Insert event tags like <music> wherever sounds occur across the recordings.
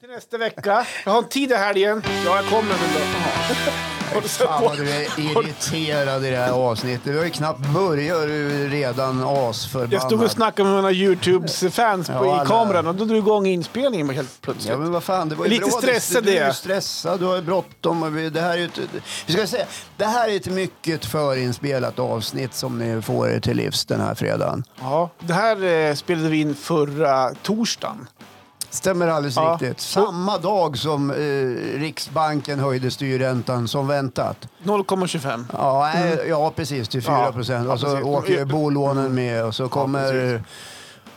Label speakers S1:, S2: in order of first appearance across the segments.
S1: Till nästa vecka. Jag har en tid i helgen. Ja, jag kommer väl då.
S2: <laughs>
S1: Har du sett
S2: Fan
S1: på?
S2: vad du
S1: <laughs>
S2: är irriterad i det här avsnittet. Vi har ju knappt börjat och du är redan asförbannad.
S1: Jag stod och snackade med mina Youtubes-fans på
S2: Ja, alla-
S1: i kameran och då drog igång inspelningen helt plötsligt.
S2: Ja men vad fan, det var ju
S1: Lite
S2: bra.
S1: stressad
S2: du, du
S1: är
S2: är ju
S1: jag.
S2: stressad, du har ju bråttom. och vi- Det här är ju ett, vi ska säga, det här är ett mycket förinspelat avsnitt som ni får er till livs den här fredagen.
S1: Ja, det här eh, spelade vi in förra torsdagen.
S2: Stämmer alldeles
S1: Ja.
S2: riktigt. Samma dag som eh, Riksbanken höjde styrräntan som väntat.
S1: 0,25.
S2: Ja, nej, ja precis, till 4
S1: Mm. Ja,
S2: procent.
S1: ja,
S2: och så
S1: precis.
S2: åker ju bolånen med och så kommer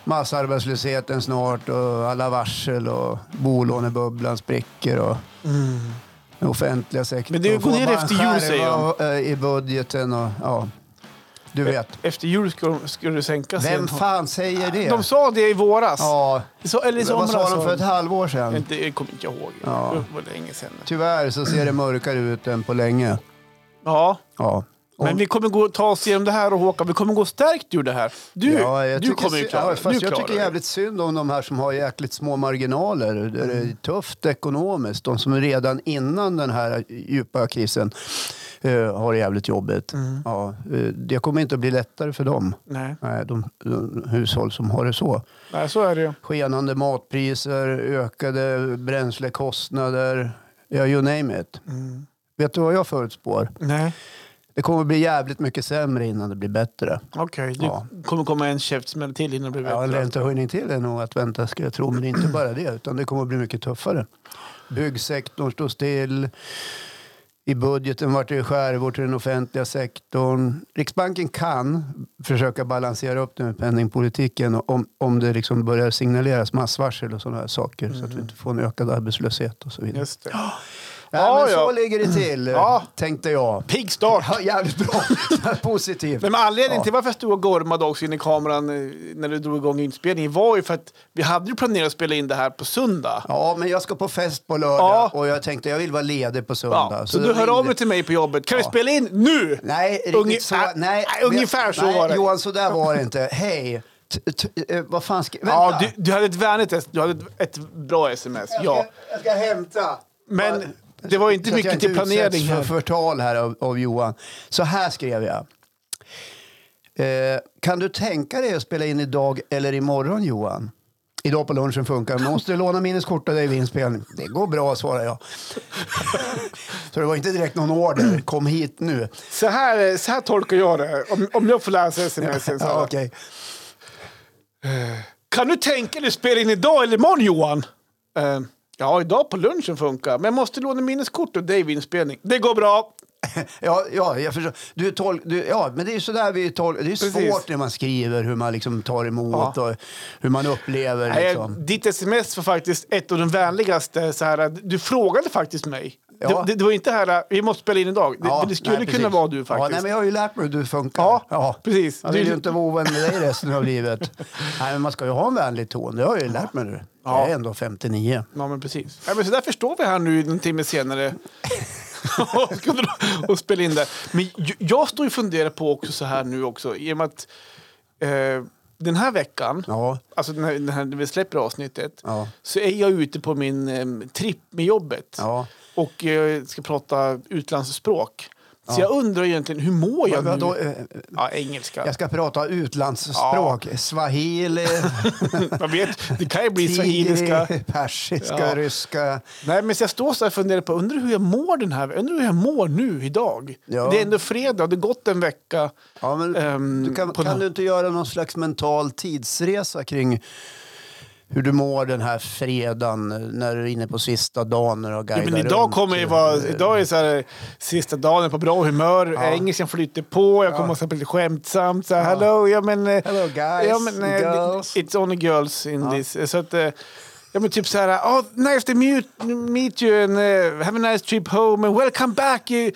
S2: massarbetslösheten snart och alla varsel och bolånebubblan spricker. Och... Den offentliga sektorn.
S1: Mm. Men det går
S2: får
S1: ner
S2: man
S1: efter jul,
S2: skärva,
S1: säger
S2: eh, I budgeten och ja, du vet.
S1: Efter jul skulle de- skulle det sänkas
S2: Vem
S1: igen.
S2: fan säger det?
S1: De sa det i våras.
S2: ja,
S1: Så, eller i
S2: vad
S1: somras.
S2: sa de
S1: sa
S2: för ett halvår sedan?
S1: Inte- Jag kommer inte ihåg.
S2: Ja.
S1: Det var länge sedan.
S2: Tyvärr så ser det mörkare ut än på länge.
S1: Ja,
S2: Ja. Och-
S1: men vi kommer gå ta oss igenom det här och Håkan, vi kommer gå stärkt ur det här. Du,
S2: Ja, jag
S1: du
S2: tycker
S1: kommer ju
S2: sy-
S1: klara
S2: ja,
S1: det.
S2: fast
S1: Du
S2: Jag
S1: klarar
S2: tycker
S1: det.
S2: jävligt synd om de här som har jäkligt små marginaler. Där det
S1: Mm.
S2: är tufft ekonomiskt. De som redan innan den här djupa krisen eh, har det jävligt jobbigt.
S1: Mm.
S2: Ja, eh, det kommer inte att bli lättare för dem.
S1: Nej.
S2: Nej, de, de hushåll som har det så.
S1: Nej, så är det ju.
S2: Skenande matpriser, ökade bränslekostnader. Ja, you name it. Vet du vad jag förutspår?
S1: Nej,
S2: Det kommer att bli jävligt mycket sämre innan det blir bättre.
S1: okej.
S2: Ja.
S1: Det kommer komma en käftsmäll till innan det blir
S2: Ja, en
S1: bättre.
S2: räntehöjning till är nog att vänta ska jag tro. Men det är inte bara det, utan det kommer att bli mycket tuffare.
S1: Mm.
S2: Byggsektorn står still. I budgeten vart det skärvor till den offentliga sektorn. Riksbanken kan försöka balansera upp det med penningpolitiken om, om det liksom börjar signaleras massvarsel och sådana här saker så
S1: Mm.
S2: att vi inte får en ökad arbetslöshet och så vidare.
S1: Just det.
S2: Ja, men
S1: Ja, ja.
S2: Så ligger det till,
S1: Ja.
S2: tänkte jag.
S1: Pigg start!
S2: Ja, jävligt bra. <laughs> Positivt.
S1: Men med anledningen
S2: Ja.
S1: till varför jag stod och gormade också in i kameran eh, när du drog igång inspelningen var ju för att vi hade ju planerat att spela in det här på söndag.
S2: Ja, men jag ska på fest på lördag
S1: Ja.
S2: och jag tänkte jag vill vara ledig på söndag.
S1: Ja, så
S2: då
S1: du hör
S2: ringde-
S1: av dig till mig på jobbet. Kan vi spela in nu?
S2: Nej, riktigt
S1: Unge-
S2: så.
S1: äh,
S2: nej,
S1: äh, ungefär så
S2: nej,
S1: var det.
S2: Johan, så där var det inte. Hej, t- t- eh, vad fan ska... Vänta.
S1: Ja, du, du hade ett vänligt sms. Du hade ett, ett bra sms,
S2: jag,
S1: ja.
S2: ska, jag ska hämta. Bara-
S1: Men det var ju inte
S2: så att
S1: mycket
S2: jag
S1: till planering
S2: utsätts
S1: här.
S2: för förtal här av, av Johan. Så här skrev jag. Eh, kan du tänka dig att spela in idag eller imorgon Johan? Idag på
S1: <laughs>
S2: lunchen funkar men Måste du låna minneskort av dig vid inspelning? Det går bra,
S1: <laughs>
S2: svarar jag. Så det var inte direkt någon order. Kom hit nu.
S1: Så här, så här tolkar jag det, om, om jag får läsa sms. Så
S2: Ja,
S1: här.
S2: okej.
S1: Kan du tänka dig att spela in idag eller imorgon Johan? Eh, ja, idag på lunchen funkar, men jag måste låna minneskort och dig vid inspelning. Det går bra.
S2: Ja, ja, jag förstår. Du tol- du, ja, men det är ju sådär vi tolkar. Det är ju
S1: Precis.
S2: svårt när man skriver hur man liksom tar emot och hur man upplever.
S1: Nej,
S2: Liksom.
S1: Eh, ditt sms var faktiskt ett av de vänligaste. Så här, du frågade faktiskt mig.
S2: Ja.
S1: Det, det, det var inte här, eh, vi måste spela in idag. Det,
S2: Ja,
S1: det skulle
S2: nej,
S1: kunna
S2: precis.
S1: vara du
S2: Ja,
S1: faktiskt.
S2: nej, men jag har ju lärt mig hur du funkar.
S1: Ja, precis.
S2: Jag vill
S1: Du-
S2: ju inte vara ovän med dig resten
S1: <laughs>
S2: av livet. nej, men man ska ju ha en vänlig ton. Det har jag ju lärt mig nu.
S1: Ja.
S2: Jag är ändå 59.
S1: Ja, men precis. Ja, men så därför står vi här nu en timme <laughs> senare och, ska dra- och spela in det. Men ju- jag står ju och funderar på också så här nu också, i och med att eh, den här veckan,
S2: Ja,
S1: alltså den här, den här, när vi släpper avsnittet,
S2: ja,
S1: så är jag ute på min eh, tripp med jobbet
S2: ja.
S1: och eh, ska prata utlandsspråk. Så
S2: Ja.
S1: jag undrar egentligen, hur mår jag
S2: Men då,
S1: nu?
S2: eh,
S1: Ja, engelska.
S2: jag ska prata utlandsspråk. Swahili,
S1: <laughs> Man vet, det kan ju bli swahiliska.
S2: tigri, persiska,
S1: Ja.
S2: ryska.
S1: Nej, men så jag står så här och funderar på undrar hur jag mår den här undrar hur jag mår nu idag.
S2: Ja.
S1: Det är ändå fredag, det har gått en vecka.
S2: Ja, men
S1: ehm,
S2: du kan
S1: på
S2: kan
S1: den-
S2: du inte göra någon slags mental tidsresa kring hur du mår den här fredagen eh, när du är inne på sista dagen när du har
S1: Jo,
S2: guidat
S1: men idag
S2: runt?
S1: kommer ju vara,
S2: Eh,
S1: idag är det så här, sista dagen på bra humör, engelskan flyter på, jag kommer
S2: Ja.
S1: att bli lite skämtsamt. Så här, Hello, ja men... eh,
S2: Hello guys,
S1: ja, men, eh,
S2: girls.
S1: It's only girls in this. Eh, Så att, eh, ja men typ så här, oh, nice to meet, meet you and eh, have a nice trip home and welcome back. You,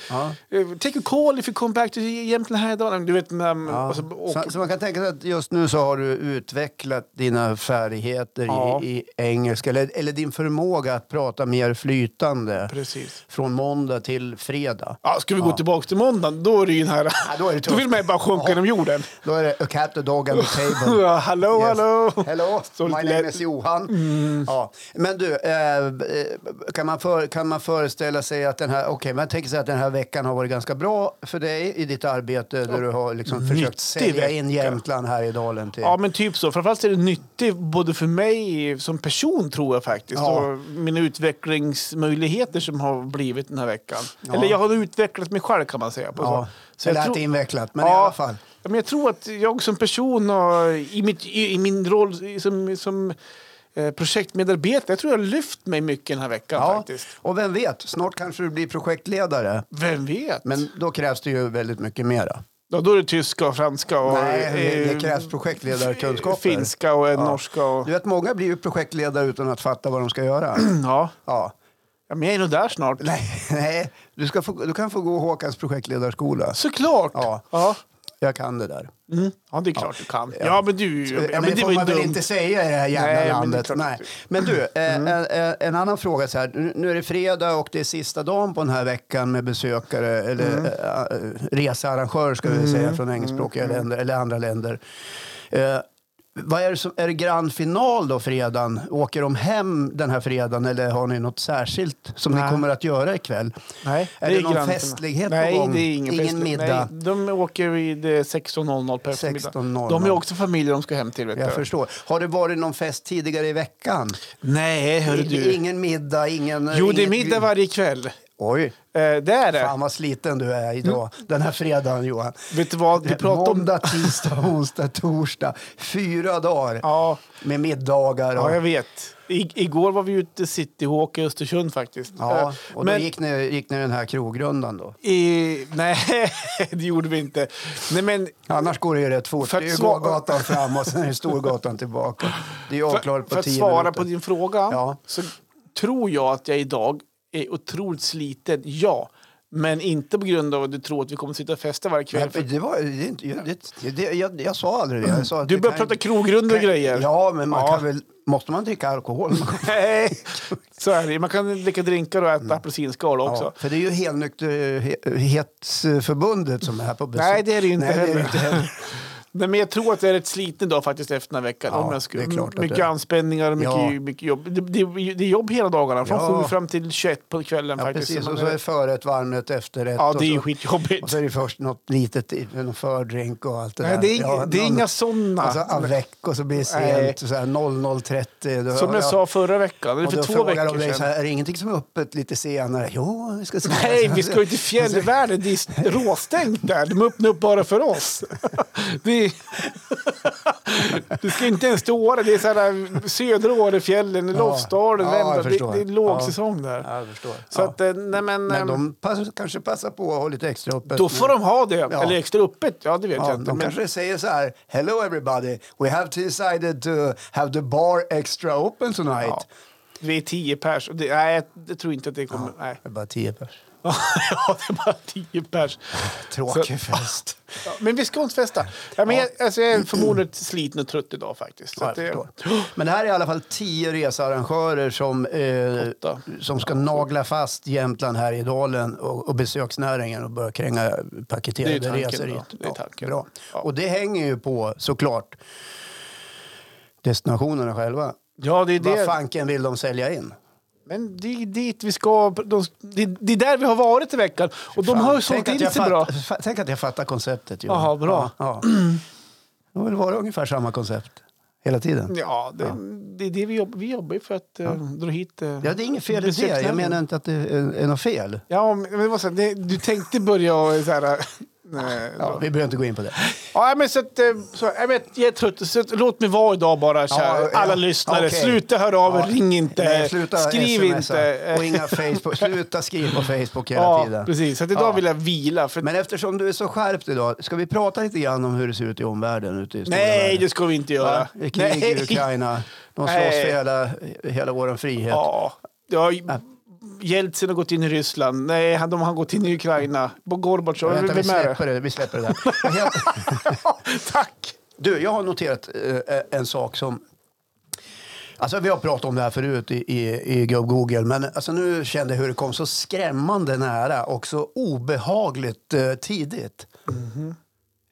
S1: eh, take a call if you come back to Jämtland här idag. Du vet, men,
S2: Ja.
S1: och så, och,
S2: så, så man kan tänka sig att just nu så har du utvecklat dina färdigheter
S1: Ja.
S2: i, i engelska eller, eller din förmåga att prata mer flytande
S1: precis.
S2: från måndag till fredag.
S1: Ja, ska vi gå tillbaka till måndagen, då är det ju den här...
S2: då är det
S1: <laughs> då vill
S2: tufft.
S1: man ju bara sjunka genom jorden. <laughs>
S2: Då är det a cat, a dog and a table.
S1: Ja, hallå, hallå!
S2: Hello,
S1: Oh, Så
S2: my
S1: lite
S2: name
S1: lätt. Mm.
S2: is Johan. Ja. Men du, eh, kan, man för, kan man föreställa sig att den här... Okej, men tänk sig att den här veckan har varit ganska bra för dig i ditt arbete där du har liksom försökt
S1: Nyttig
S2: sälja in
S1: vecka.
S2: Jämtland här i dalen till...
S1: Ja, men typ så. Framförallt är det nyttigt både för mig som person, tror jag faktiskt,
S2: Ja.
S1: och mina utvecklingsmöjligheter som har blivit den här veckan.
S2: Ja.
S1: Eller jag har utvecklat mig själv kan man säga. På
S2: Ja.
S1: så. Så
S2: Det
S1: jag
S2: lät
S1: tror-
S2: invecklat, men i
S1: Ja.
S2: alla fall.
S1: Ja, men jag tror att jag som person och i, mitt, i, i min roll som, som eh, projektmedarbetare, jag tror jag har lyft mig mycket den här veckan
S2: Ja.
S1: faktiskt.
S2: Och vem vet, snart kanske du blir projektledare.
S1: Vem vet?
S2: Men då krävs det ju väldigt mycket mera.
S1: ja, då är det tyska och franska och
S2: Nej, det- det
S1: eh,
S2: krävs projektledarkunskaper.
S1: Finska och en
S2: Ja.
S1: norska. Och,
S2: Du vet, många blir ju projektledare utan att fatta vad de ska göra.
S1: <clears throat> ja.
S2: Ja.
S1: ja, men jag är nog där snart.
S2: Nej, <laughs> nej. Du, ska få, du kan få gå Håkans projektledarskola.
S1: Såklart!
S2: Ja.
S1: Ja.
S2: Jag kan det där.
S1: Mm. ja, det är klart du kan.
S2: Ja.
S1: Ja, men du... Ja,
S2: men
S1: men
S2: det
S1: det
S2: får
S1: var ju
S2: man väl
S1: dumt.
S2: inte säga i det här jävla
S1: Nej, men det Mm. är
S2: landet.
S1: klart
S2: nej.
S1: att
S2: Men du, eh, en, en- en annan fråga. Så här. Nu- Nu är det fredag och det är sista dagen på den här veckan med besökare eller
S1: Mm.
S2: eh, eh, researrangörer ska vi säga från engelskspråkiga
S1: Mm.
S2: länder eller andra länder. Eh, vad är, det som, är det grand final då fredagen? Åker de hem den här fredagen eller har ni något särskilt som ni
S1: Nej.
S2: kommer att göra ikväll?
S1: Nej,
S2: Är det någon
S1: grann-
S2: festlighet på
S1: Nej,
S2: gång?
S1: det är ingen,
S2: Ingen
S1: festlighet.
S2: middag?
S1: Nej, de åker vid eh, 16.00 på eftermiddagen.
S2: 16.00.
S1: De är också familjer de ska hem till. Vet
S2: Jag
S1: du.
S2: förstår. Har det varit någon fest tidigare i veckan?
S1: Nej, hörru du.
S2: Ingen middag, ingen...
S1: jo, det är
S2: inget-
S1: middag varje kväll. Eh,
S2: Oj,
S1: det är det.
S2: fan vad sliten du är idag, den här fredagen Johan.
S1: Vet du vad? Mm. Vi pratar om...
S2: Måndag, tisdag, onsdag, torsdag. Fyra dagar
S1: Ja,
S2: med middagar. Och,
S1: ja, jag
S2: ja,
S1: vet. I, igår var vi ute i Cityhawk i Östersund faktiskt. Eh,
S2: och då
S1: men-
S2: gick, ni, gick ni den här krogrundan då?
S1: I, <laughs> nej, det gjorde vi inte. Nej, men
S2: Annars går det ju rätt fort.
S1: För att
S2: det är ju
S1: svara-
S2: gågatan fram och sen är det Storgatan tillbaka. Det är
S1: för,
S2: avklarat
S1: för
S2: på
S1: att
S2: tio
S1: svara
S2: minuter.
S1: på din fråga
S2: Ja.
S1: så tror jag att jag idag är otroligt sliten, ja. Men inte på grund av att du tror att vi kommer sitta och festa varje kväll.
S2: Men Det var, det, är inte- det, det, jag, jag sa aldrig det. Jag sa att
S1: du
S2: det
S1: börjar
S2: kan-
S1: prata krogrunder och
S2: kan-
S1: grejer. <laughs>
S2: Ja, men man
S1: Ja.
S2: kan väl... Måste man
S1: <laughs>
S2: dricka alkohol?
S1: Nej, så är det. Man kan dricka drinkar och äta apelsinskal också.
S2: Mm. Ja, för det är ju Helnykterhetsförbundet som är här på besök.
S1: Nej, det är det ju inte
S2: Nej,
S1: heller.
S2: är inte heller.
S1: Nej, men jag tror att det är rätt sliten dag faktiskt efter den här veckan.
S2: Ja,
S1: om jag skulle,
S2: det är klart att
S1: mycket
S2: det är.
S1: anspänningar och mycket,
S2: Ja.
S1: mycket jobb. Det, det, det är jobb hela dagarna, från
S2: Ja.
S1: sju fram till 21 på kvällen. <laughs>
S2: Ja,
S1: faktiskt.
S2: precis.
S1: Så
S2: Och
S1: man
S2: så är förrätt, varmrätt, efterrätt.
S1: Ja,
S2: och
S1: det är ju
S2: så-
S1: skitjobbigt.
S2: Och så är det först något litet, i- någon fördrink och allt det
S1: Nej,
S2: där.
S1: det är,
S2: Ja, Alltså,
S1: det är
S2: någon-
S1: inga sådana.
S2: Och så avec och så blir det
S1: Nej.
S2: sent, så här 00.30. Då-
S1: som jag
S2: ja.
S1: sa förra veckan, eller
S2: Och
S1: för
S2: då
S1: två
S2: frågar de
S1: veckor
S2: dig så
S1: sedan.
S2: här, är det ingenting som är öppet lite senare? Jo, vi ska se.
S1: <laughs> Nej, vi ska ju till fjällvärlden. Det
S2: <laughs>
S1: är råstängt där. De öppnar upp bara för oss. Det, är... det ska inte ens till Åre. Det är så här, äh, södra Årefjällen, Lofsdalen.
S2: Ja, jag
S1: Vända.
S2: förstår.
S1: det, det är lågsäsong där.
S2: Ja, jag förstår.
S1: Så att, eh, nej men,
S2: Men
S1: ehm,
S2: de pass, kanske passar på att ha lite extra öppet.
S1: då får de ha det.
S2: Ja.
S1: Eller extra öppet, ja det vet
S2: Ja,
S1: jag inte.
S2: de
S1: Men,
S2: kanske säger så här, hello everybody, we have decided to have the bar extra open tonight.
S1: ja. Vi är tio pers. Och det, nej, jag tror inte att det kommer... Nej. <laughs>
S2: Det är bara tio pers.
S1: ja, det är bara tio pers. <laughs>
S2: Tråkig fest.
S1: Ja, men vi ska inte festa. Ja, men jag, alltså, jag är förmodligen sliten och trött idag faktiskt. Så
S2: Ja,
S1: att
S2: jag
S1: det,
S2: förstår. Men det här är i alla fall tio researrangörer som, eh,
S1: Åtta.
S2: som ska nagla fast Jämtland här i dalen och, och besöksnäringen och börja kränga
S1: Det är
S2: paketerade
S1: tanken,
S2: resor
S1: ja.
S2: hit.
S1: Det är tanken.
S2: bra.
S1: Ja.
S2: Och det hänger ju på, såklart, destinationerna själva.
S1: ja, det är
S2: Vad
S1: det.
S2: fanken vill de sälja in?
S1: Men det är dit vi ska. De, det, det är där vi har varit i veckan. Och de har ju sålt
S2: Tänk att
S1: in
S2: jag
S1: sig bra.
S2: fatt- fa- Tänk att jag fattar konceptet. Johan.
S1: Jaha, bra.
S2: Ja,
S1: <clears throat>
S2: ja. Det har väl varit ungefär samma koncept hela tiden.
S1: Ja, det, det är det vi jobbar, vi jobbar ju för att eh, dra hit... eh,
S2: Ja, det är inget fel i det. Jag
S1: besöksnäringen.
S2: menar inte att det är, är något fel.
S1: Ja, men det var så, här, det, du tänkte börja och så här... eh, <laughs> Nej,
S2: Ja,
S1: ja.
S2: vi behöver inte gå in på det.
S1: men så att, eh, så, jag, vet, jag är trött. Så att, låt mig vara idag bara, kära.
S2: Ja, ja.
S1: Alla lyssnare.
S2: Okej.
S1: Sluta höra av er.
S2: Ja.
S1: Ring inte.
S2: Nej, sluta
S1: skriv
S2: smsa.
S1: inte. eh,
S2: Och inga Facebook. Sluta skriva på Facebook
S1: <laughs>
S2: hela
S1: ja,
S2: tiden.
S1: precis. Så att idag
S2: Ja.
S1: vill jag vila. För
S2: Men eftersom du är så skärpt idag, ska vi prata lite grann om hur det ser ut i omvärlden? Ute i stora
S1: nej,
S2: världen?
S1: det ska vi inte göra.
S2: Va? Det är krig i Ukraina. De slåss
S1: Nej.
S2: för hela, hela vår frihet.
S1: <laughs> Ja, ja. Jeltsin har gått in i Ryssland. Nej, han, de har gått in i Ukraina. Gorbatjov,
S2: Vänta, vi
S1: vem är det?
S2: släpper det. Vi släpper det där. Vad
S1: <laughs>
S2: heter-
S1: Tack!
S2: Du, jag har noterat eh, en sak som... Alltså vi har pratat om det här förut i, i, i Gubb Google, men alltså, nu kände jag hur det kom så skrämmande nära och så obehagligt eh, tidigt.
S1: Mhm.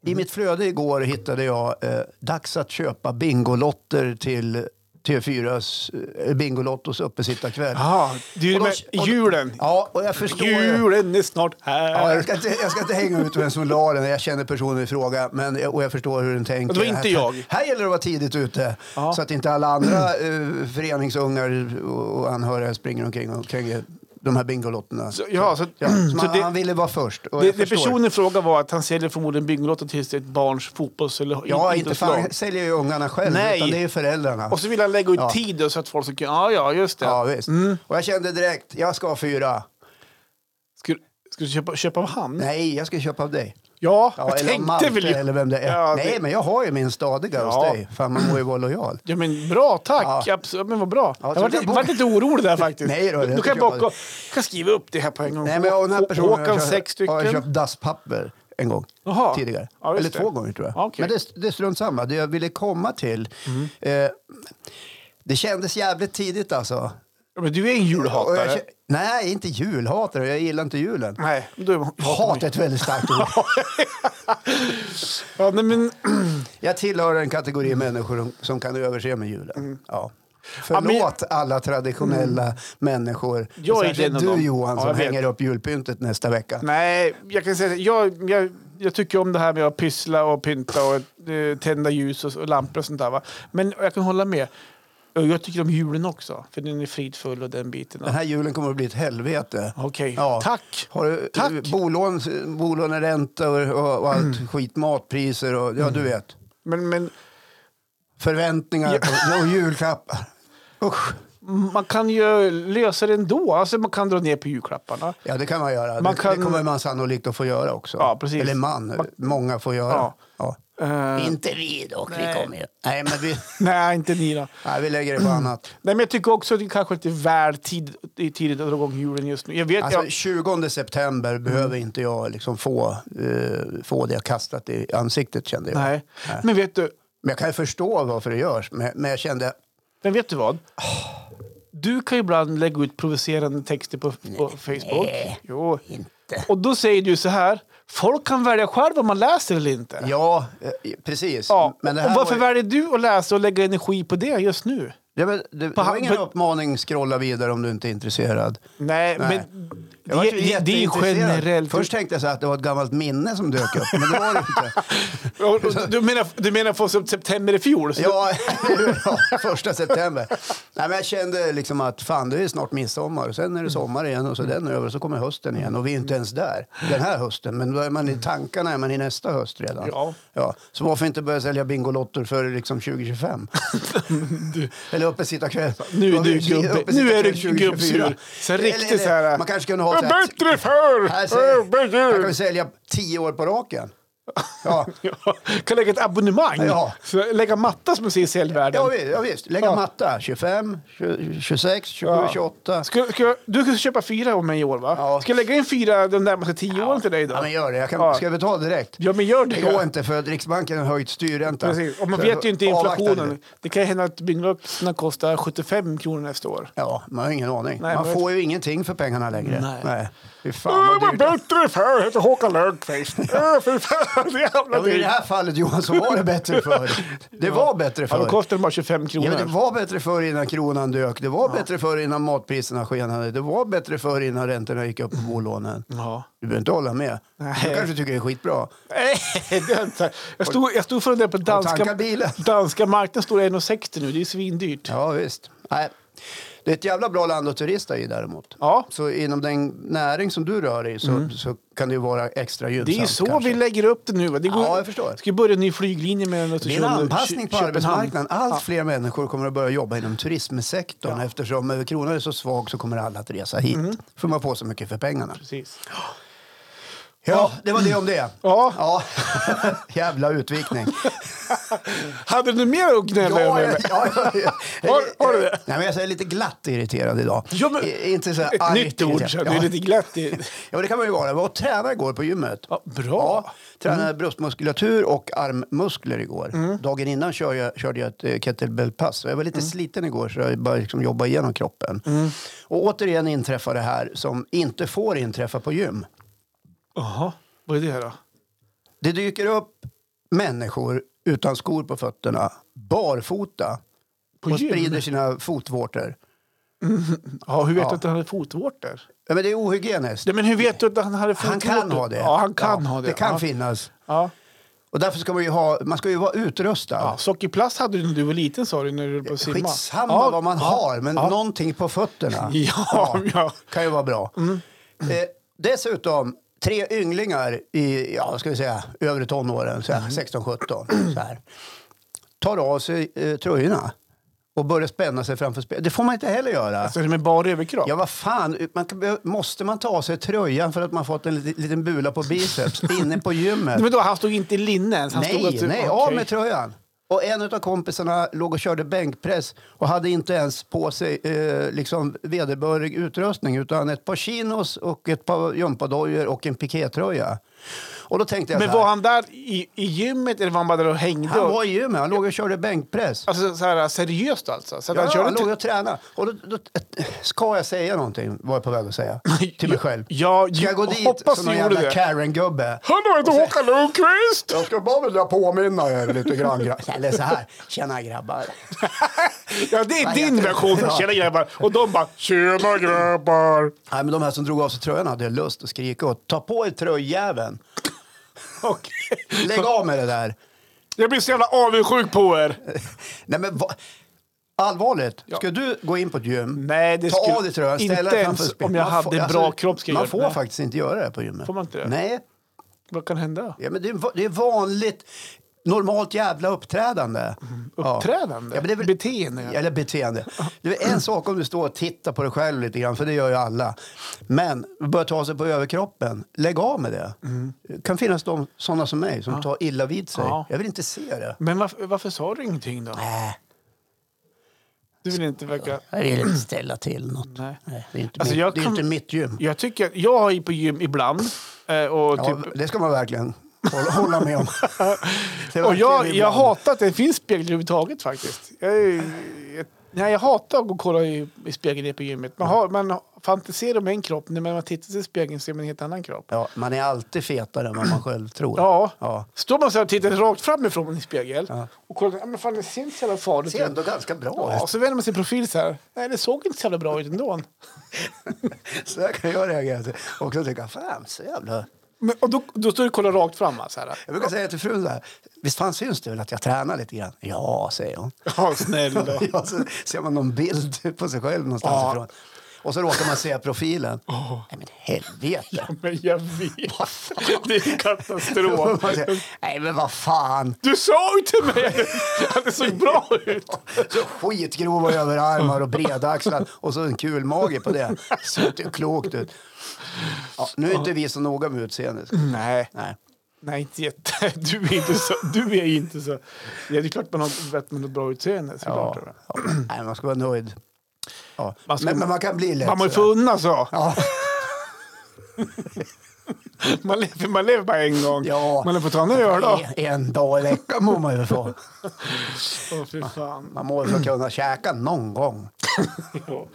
S2: I mitt flöde igår hittade jag eh, dags att köpa Bingolotter till T4s eh, Bingolottos uppesittarkväll.
S1: Ja, det är ju
S2: Och då-
S1: med
S2: och då-
S1: julen.
S2: Ja, och jag förstår ju.
S1: Julen är snart
S2: Ja, jag,
S1: här.
S2: ska inte, jag ska inte hänga ut vem som la den. Jag känner personen i fråga men, jag- och jag förstår hur den tänker.
S1: det var inte jag.
S2: Här, här gäller det att vara tidigt ute
S1: Ja.
S2: så att inte alla andra eh, föreningsungar och och anhöriga springer omkring och kränger de här Bingolotterna.
S1: Så, ja, så,
S2: Ja, så
S1: så
S2: man, han
S1: det,
S2: ville vara först. Och
S1: det,
S2: jag
S1: det
S2: förstår.
S1: personen frågade var att han säljer förmodligen bingolotter till sitt barns fotbolls eller
S2: Ja, inte
S1: idrottslag.
S2: fan säljer ju ungarna själv,
S1: Nej.
S2: utan det är ju föräldrarna.
S1: Och så vill han lägga ut
S2: Ja.
S1: tid då, så att folk ska kunna... Ja, ja, just det.
S2: ja, visst.
S1: Mm.
S2: Och jag kände direkt, jag ska ha fyra.
S1: Ska, du- ska du köpa, köpa av han?
S2: Nej, jag ska köpa av dig.
S1: Ja,
S2: Ja,
S1: jag
S2: eller av
S1: tänkte väl... ju-
S2: eller vem det är.
S1: Ja,
S2: Nej,
S1: det-
S2: men jag har ju min stadiga
S1: Ja.
S2: hos dig. Fan, man må ju vara lojal.
S1: Ja, men bra, tack.
S2: Ja.
S1: Absolut, men vad bra.
S2: Ja,
S1: jag var,
S2: så kan
S1: lite-
S2: jag bo-
S1: var lite orolig där faktiskt.
S2: Nej då, det
S1: du
S2: tycker
S1: kan,
S2: jag
S1: baka,
S2: bara-
S1: kan skriva upp det här på en gång.
S2: Nej, men jag och den här
S1: Hå-
S2: personen har
S1: Håkan
S2: köpt-
S1: sex stycken.
S2: har jag köpt dasspapper en gång
S1: Jaha.
S2: tidigare.
S1: Ja, just
S2: Eller
S1: det.
S2: två gånger tror jag.
S1: Ja, okej. Mm.
S2: Men det, det är strunt samma. Det jag ville komma till. Eh, det kändes jävligt tidigt alltså.
S1: Ja, men du är en
S2: Och jag
S1: julhatare.
S2: kä- nej, inte julhatare. Jag gillar inte julen.
S1: Nej, du hatar
S2: Hat är ett väldigt starkt
S1: <laughs>
S2: ord.
S1: Ja, nej, men,
S2: Jag tillhör en kategori människor som kan överse med julen. Ja.
S1: Mm. men- Mm.
S2: Förlåt alla traditionella människor.
S1: Jag är
S2: Särskilt
S1: den av
S2: du
S1: dem.
S2: Johan
S1: Ja,
S2: som
S1: jag vet.
S2: hänger upp julpyntet nästa vecka.
S1: nej, jag kan säga det. jag, jag, jag tycker om det här med att pyssla och pynta och eh, tända ljus och, och lampor och sånt där. Va? Men jag kan hålla med. Och Jag tycker om julen också, för den är fridfull och den biten.
S2: Den här julen kommer att bli ett helvete.
S1: Okej,
S2: Ja.
S1: tack.
S2: Har du
S1: Tack. Mm.
S2: bolån, bolåneränta och, och, och allt skit, matpriser och ja, du vet.
S1: Men, men
S2: Förväntningar och,
S1: <laughs>
S2: och julklappar. Usch.
S1: man kan ju lösa det ändå. Alltså, man kan dra ner på julklapparna.
S2: Ja, det kan man göra.
S1: Man
S2: det,
S1: kan-
S2: det kommer man sannolikt att få göra också.
S1: Ja, precis.
S2: Eller man, många får göra.
S1: Ja.
S2: Ja.
S1: Eh,
S2: Inte vi dock,
S1: Nej.
S2: vi kommer ju. Nej, men
S1: <laughs>
S2: vi,
S1: nej, inte ni då.
S2: nej, vi lägger det på annat.
S1: Nej, men jag tycker också att det kanske inte är väl tid, det är tidigt att dra igång julen just nu. Jag vet,
S2: Alltså,
S1: jag,
S2: 20 september behöver
S1: Mm.
S2: inte jag liksom få, eh, få det kastat i ansiktet kände jag.
S1: nej. Men, vet du,
S2: Men jag kan ju förstå varför det görs. Men, men jag kände,
S1: men vet du vad? Du kan ju ibland lägga ut provocerande texter på, på Facebook. Jo.
S2: inte.
S1: Och då säger du så här. Folk kan välja själv om man läser eller inte.
S2: Ja, eh, precis.
S1: Ja,
S2: Men det
S1: och
S2: här
S1: varför
S2: var,
S1: väljer
S2: ju-
S1: du att läsa och lägga energi på det just nu?
S2: ja, men det det
S1: han-
S2: var ingen
S1: på-
S2: uppmaning, scrolla vidare om du inte är intresserad.
S1: Nej,
S2: Nej.
S1: men
S2: Jag var
S1: det, det, det är ju
S2: jätteintresserad.
S1: generellt.
S2: Först tänkte jag så här att det var ett gammalt minne som dök upp, men det var det
S1: <laughs>
S2: inte.
S1: Och- och Du menar, du menar från september i fjol? Så
S2: Ja, ja, <laughs> första september. Nej, men jag kände liksom att fan, det är snart midsommar. och Sen är det sommar igen och så är
S1: Mm.
S2: den över och så kommer hösten igen. Och vi är inte ens där den här hösten. Men då är man i tankarna är man i nästa höst redan.
S1: Mm. Ja.
S2: Så varför inte börja sälja Bingolotter för
S1: <laughs>
S2: liksom 2025? Eller uppesittarkväll.
S1: Nu är du
S2: Uppesittarkväll
S1: gubbe. Nu är du
S2: 2024.
S1: gubbsur. Så
S2: Eller-
S1: riktigt
S2: eller-
S1: så här-
S2: Man kanske kunde ha så här, typ-
S1: Bättre förr!
S2: här, ser- här kan vi
S1: Bättre.
S2: sälja tio år på raken. Ja,
S1: Ja, kan lägga ett abonnemang.
S2: Ja.
S1: Så lägga Mattas musik i säljvärlden.
S2: Ja, vi- ja visst, lägga
S1: Ja.
S2: matta. 25, 20, 26, 27,
S1: Ja.
S2: 28.
S1: Ska, ska, jag- du ska köpa fyra om mig i år, va?
S2: Ja.
S1: Ska jag lägga in fyra de närmaste tio åren till dig då?
S2: Ja, men gör det. Jag kan,
S1: Ja.
S2: Ska jag betala direkt?
S1: Ja, men gör det.
S2: Det går inte för att Riksbanken har höjt styrräntan.
S1: Precis. Och man
S2: Så
S1: vet ju inte
S2: avvakta
S1: inflationen.
S2: lite.
S1: Det kan ju hända att bygglotterna kostar 75 kronor nästa år.
S2: Ja, man har ingen aning.
S1: Nej,
S2: man
S1: men-
S2: får ju ingenting för pengarna längre.
S1: Nej.
S2: Fy fan vad dyrt. alltså."
S1: bättre förr, heter Håkan Löfqvist. <laughs> Äh, Fy fan, det är jävla
S2: Ja, men I det
S1: dyrt.
S2: här fallet Johan så var det
S1: <laughs>
S2: bättre förr. Det var bättre
S1: Ja, då
S2: förr.
S1: kostar det bara 25
S2: Ja,
S1: kronor.
S2: men det var bättre förr innan kronan dök. Det var bättre förr innan matpriserna skenade. Det var bättre förr innan räntorna gick upp på bolånen.
S1: Ja.
S2: Du behöver inte hålla med.
S1: Nej.
S2: Du kanske tycker det är skitbra.
S1: Nej, <laughs> det är inte. Jag stod, jag stod för det på danska,
S2: tanka bilen.
S1: danska marknaden står det 1,60 nu. Det är svindyrt.
S2: Ja, visst. Nej. Det är ett jävla bra land att turista i däremot.
S1: Ja.
S2: Så inom den näring som du rör dig i så, så kan det ju vara extra gynnsamt.
S1: Mm. Det är ju så
S2: kanske.
S1: vi lägger upp det nu. va? Det
S2: Ja, jag förstår.
S1: Ska vi börja en ny flyglinje mellan
S2: Det är
S1: Östersund
S2: en
S1: och
S2: anpassning
S1: Kö-
S2: på
S1: Köpenhamn?
S2: arbetsmarknaden. Allt fler människor kommer att börja jobba inom turismsektorn. Eftersom eh, kronan är så svag så kommer alla att resa hit. För man får så mycket för pengarna.
S1: Mm. Precis.
S2: Ja, det var det om det.
S1: Ja.
S2: ja. <laughs> Jävla
S1: <laughs>
S2: utvikning.
S1: Hade du mer att gnälla
S2: Ja,
S1: över?
S2: ja, ja, ja.
S1: Har- har du det?
S2: Nej, men jag är lite glatt irriterad idag.
S1: Ja, men-
S2: I- Inte så här
S1: Ett
S2: argt
S1: nytt ord.
S2: irriterad.
S1: så
S2: Ja.
S1: Det är lite glatt. i-
S2: Ja, men det kan man ju vara. Jag var och tränade igår på gymmet.
S1: Ja, Mm. bra.
S2: Tränade bröstmuskulatur och armmuskler igår.
S1: Mm.
S2: Dagen innan körde jag, körde jag ett eh, kettlebellpass. Så Jag var lite sliten igår så jag bara liksom jobbade igenom kroppen.
S1: Mm.
S2: Och återigen inträffar det här som inte får inträffa på gym.
S1: Jaha, vad är det här då?
S2: Det dyker upp människor utan skor på fötterna, barfota,
S1: På
S2: och
S1: gym?
S2: sprider sina fotvårtor.
S1: Ja, hur vet
S2: Ja.
S1: du att han hade fotvårtor?
S2: Ja, men det är ohygieniskt.
S1: Ja, men hur vet du att han hade fotvårtor?
S2: Han kan ha det.
S1: Ja, han kan
S2: Ja,
S1: ha det.
S2: Det kan
S1: ja.
S2: finnas.
S1: Ja.
S2: Och därför ska man ju ha, man ska ju vara utrustad.
S1: Ja, sockerplast hade du när du var liten sa du när du höll på att simma.
S2: Skitsamma
S1: ja,
S2: vad man
S1: ja,
S2: har, men
S1: ja.
S2: någonting på fötterna
S1: <laughs> Ja, ja. Mm.
S2: kan ju vara bra. Eh, dessutom, tre ynglingar i ja, ska vi säga, övre tonåren,
S1: Mm.
S2: så här, 16-17, så här, tar av sig eh, tröjorna och börjar spänna sig framför spegeln. Det får man inte heller göra.
S1: Alltså med bar överkropp?
S2: Ja, vad fan. Man, kan be- måste man ta av sig tröjan för att man fått en liten, liten bula på
S1: <laughs>
S2: biceps inne på gymmet?
S1: Men då, han stod inte i linne ens? Han stod
S2: Nej,
S1: att,
S2: nej,
S1: okej.
S2: av med tröjan. Och en av kompisarna låg och körde bänkpress och hade inte ens på sig eh, liksom vederbörlig utrustning utan ett par chinos och ett par gympadojor och en pikétröja. Och då tänkte jag
S1: Men
S2: så här,
S1: var han där i, i gymmet eller var han bara där och hängde?
S2: han
S1: och,
S2: var i gymmet, han låg och körde bänkpress.
S1: alltså, så här, seriöst alltså? Så att
S2: Ja,
S1: han
S2: han,
S1: körde
S2: låg och tränade. Och då, då, eh, ska jag säga någonting, var jag på väg
S1: <laughs>
S2: att säga, till mig själv.
S1: Ja,
S2: Ska jag gå dit
S1: hoppas
S2: som
S1: du
S2: någon
S1: gjorde
S2: jävla
S1: det.
S2: Karen-gubbe?
S1: Hallå, heter Håkan Lundqvist!
S2: Jag skulle bara vilja påminna er lite grann. <laughs> gra- Eller så här, tjena grabbar.
S1: Ja, det är
S2: Vad
S1: din
S2: heter det?
S1: version för
S2: Ja.
S1: tjena grabbar. Och de bara tjena grabbar.
S2: Nej, men de här som drog av sig tröjan hade lust att skrika och ta på er tröjjäveln.
S1: Okej.
S2: Lägg av med det där.
S1: Jag blir så jävla avundsjuk på er.
S2: Nej, men va? Allvarligt, ska du gå in på ett gym,
S1: Nej, det
S2: ta
S1: skulle-
S2: av dig tröjan, ställa
S1: inte
S2: dig
S1: ens
S2: framför spegeln.
S1: om jag
S2: Man
S1: hade
S2: får- alltså,
S1: en bra kropp ska jag
S2: Man
S1: göra
S2: får
S1: det.
S2: faktiskt inte göra det på gymmet.
S1: Får man inte det?
S2: Nej,
S1: Vad kan hända?
S2: ja, men det, är, va- det är vanligt, normalt jävla uppträdande. Ja.
S1: Mhm. Uppträdande?
S2: Ja, men det är väl-
S1: Beteende?
S2: Eller beteende. Det är en sak om du står och tittar på dig själv lite grann, för det gör ju alla. Men börja ta sig på överkroppen, lägg av med det. Det kan finnas de, sådana som mig som tar illa vid sig.
S1: Ja.
S2: Jag vill inte se det.
S1: Men varför, varför sa du ingenting då?
S2: Nej,
S1: Du vill inte verka...
S2: jag vill inte ställa till något.
S1: Nej.
S2: Nej, det är inte,
S1: Alltså,
S2: mitt,
S1: jag
S2: det är
S1: kan-
S2: inte mitt gym.
S1: Jag tycker att jag är på gym ibland. eh, Och,
S2: Ja,
S1: typ,
S2: Det ska man verkligen hålla, hålla med <laughs> om. Det är
S1: och jag,
S2: verkligen
S1: jag
S2: ibland.
S1: hatar att det finns spegel överhuvudtaget faktiskt. Jag, är- jag, nej, jag hatar att gå och kolla i, i spegeln nere på gymmet. Man, har, man fantiserar om en kropp, men när man tittar sig i spegeln ser man en helt annan kropp.
S2: Ja, man är alltid fetare än vad man själv tror.
S1: Ja.
S2: Ja.
S1: Står man så här och tittar rakt framifrån i spegel och kollar, ja, men fan det ser inte så jävla
S2: Det
S1: farligt
S2: ser
S1: ut.
S2: ändå ganska bra
S1: Ja,
S2: ut.
S1: och så vänder man sin profil så här. Nej, det såg inte så jävla bra ut ändå.
S2: Så där kan jag reagera. Och så tycker jag, fan så jävla...
S1: Men, och då, då står du och kollar rakt fram. va, Så här.
S2: Jag brukar säga till frun så här, visst fan syns det väl att jag tränar lite grann? Ja, säger
S1: <laughs>
S2: hon.
S1: Ja, snälla.
S2: Ja, så ser man någon bild på sig själv någonstans
S1: Ja.
S2: ifrån. Och så råkar man se profilen. Nej men helvete!
S1: <laughs> Men jag vet. Det är katastrof.
S2: Man säger, Nej men vad fan!
S1: Du sa ju till mig att det såg bra ut.
S2: Så skitgrova överarmar och breda axlar och så en kul mage på det. Ser inte klokt ut. Ja, nu är inte vi så noga med utseendet.
S1: Nej,
S2: Nej.
S1: nej inte jätte. Du är inte så. Du är inte så. Ja, det är klart man har att man har bra utseende.
S2: Ja.
S1: såklart.
S2: Ja. Nej, man ska vara nöjd. Ja.
S1: Man ska-
S2: men, men man kan bli lätt
S1: Man må ju
S2: sådär.
S1: få unna så.
S2: Ja.
S1: <laughs> Man lever, man lever bara en gång.
S2: Ja.
S1: Man får ta en öl då.
S2: En- En dag i veckan må man ju få.
S1: Åh, fy fan.
S2: Man må ju kunna käka någon gång.
S1: Ja.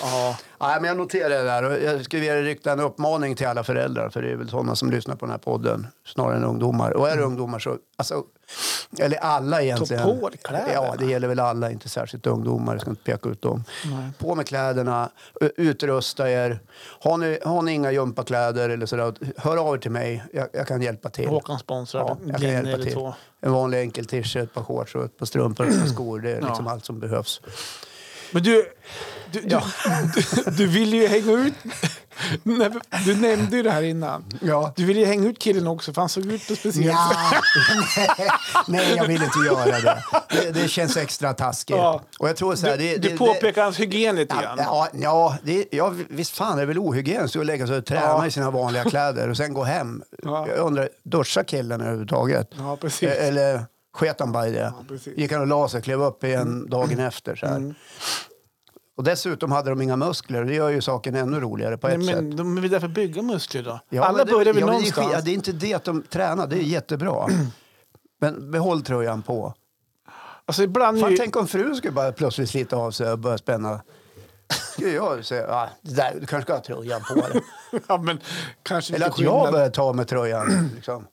S1: Ja.
S2: Ja, men jag noterar det där och jag skulle vilja rikta en uppmaning till alla föräldrar för det är väl sådana som lyssnar på den här podden snarare än ungdomar. Och är det ungdomar så, alltså, eller alla egentligen.
S1: på dig kläderna.
S2: Ja, det gäller väl alla, inte särskilt ungdomar. Jag ska inte peka ut dem. På med kläderna, u- utrusta er. Har ni, har ni inga gympakläder eller sådär, hör av er till mig. Jag, jag kan hjälpa till.
S1: Håkan sponsrar.
S2: Ja, jag kan hjälpa till. En vanlig enkel t-shirt, ett par shorts och ett par strumpor och ett par skor. Det är liksom
S1: Ja.
S2: allt som behövs.
S1: Men du, du, du, du, <laughs> du vill ju hänga ut... Nej, men Du nämnde ju det här innan.
S2: Ja.
S1: Du ville ju hänga ut killen också, för han såg ut på ett speciellt sätt.
S2: Ja, <laughs> nej, nej, jag vill inte göra det. Det, det känns extra taskigt.
S1: Ja.
S2: Och jag tror så här, det,
S1: Du,
S2: det,
S1: du påpekar hans hygien lite
S2: det,
S1: grann.
S2: Ja, ja, det, ja, visst fan är det väl ohygieniskt att lägga sig och träna
S1: Ja.
S2: i sina vanliga kläder och sen gå hem.
S1: Ja.
S2: Jag undrar, duschar killen överhuvudtaget?
S1: Ja, precis.
S2: E- Eller sket han bara i det?
S1: precis. Mm.
S2: Gick han och la sig, klev upp igen dagen efter? Så här. Och dessutom hade de inga muskler och det gör ju saken ännu roligare på
S1: Nej,
S2: ett sätt.
S1: men de vill därför bygga muskler då.
S2: Ja,
S1: Alla
S2: men det-
S1: börjar väl
S2: ja, men det är skit-
S1: någonstans.
S2: Ja, det är inte det att de tränar, det
S1: <clears throat>
S2: är jättebra. Men behåll tröjan på.
S1: alltså, ibland är
S2: Fan,
S1: ju...
S2: tänk om frun skulle bara plötsligt slita av sig och börja spänna. Skulle jag säga, ah, det där, du kanske ska ha
S1: <laughs>
S2: tröjan på dig.
S1: <laughs> ja, men, kanske
S2: Eller
S1: lite
S2: att jag
S1: skillnad.
S2: börjar ta med tröjan. Liksom.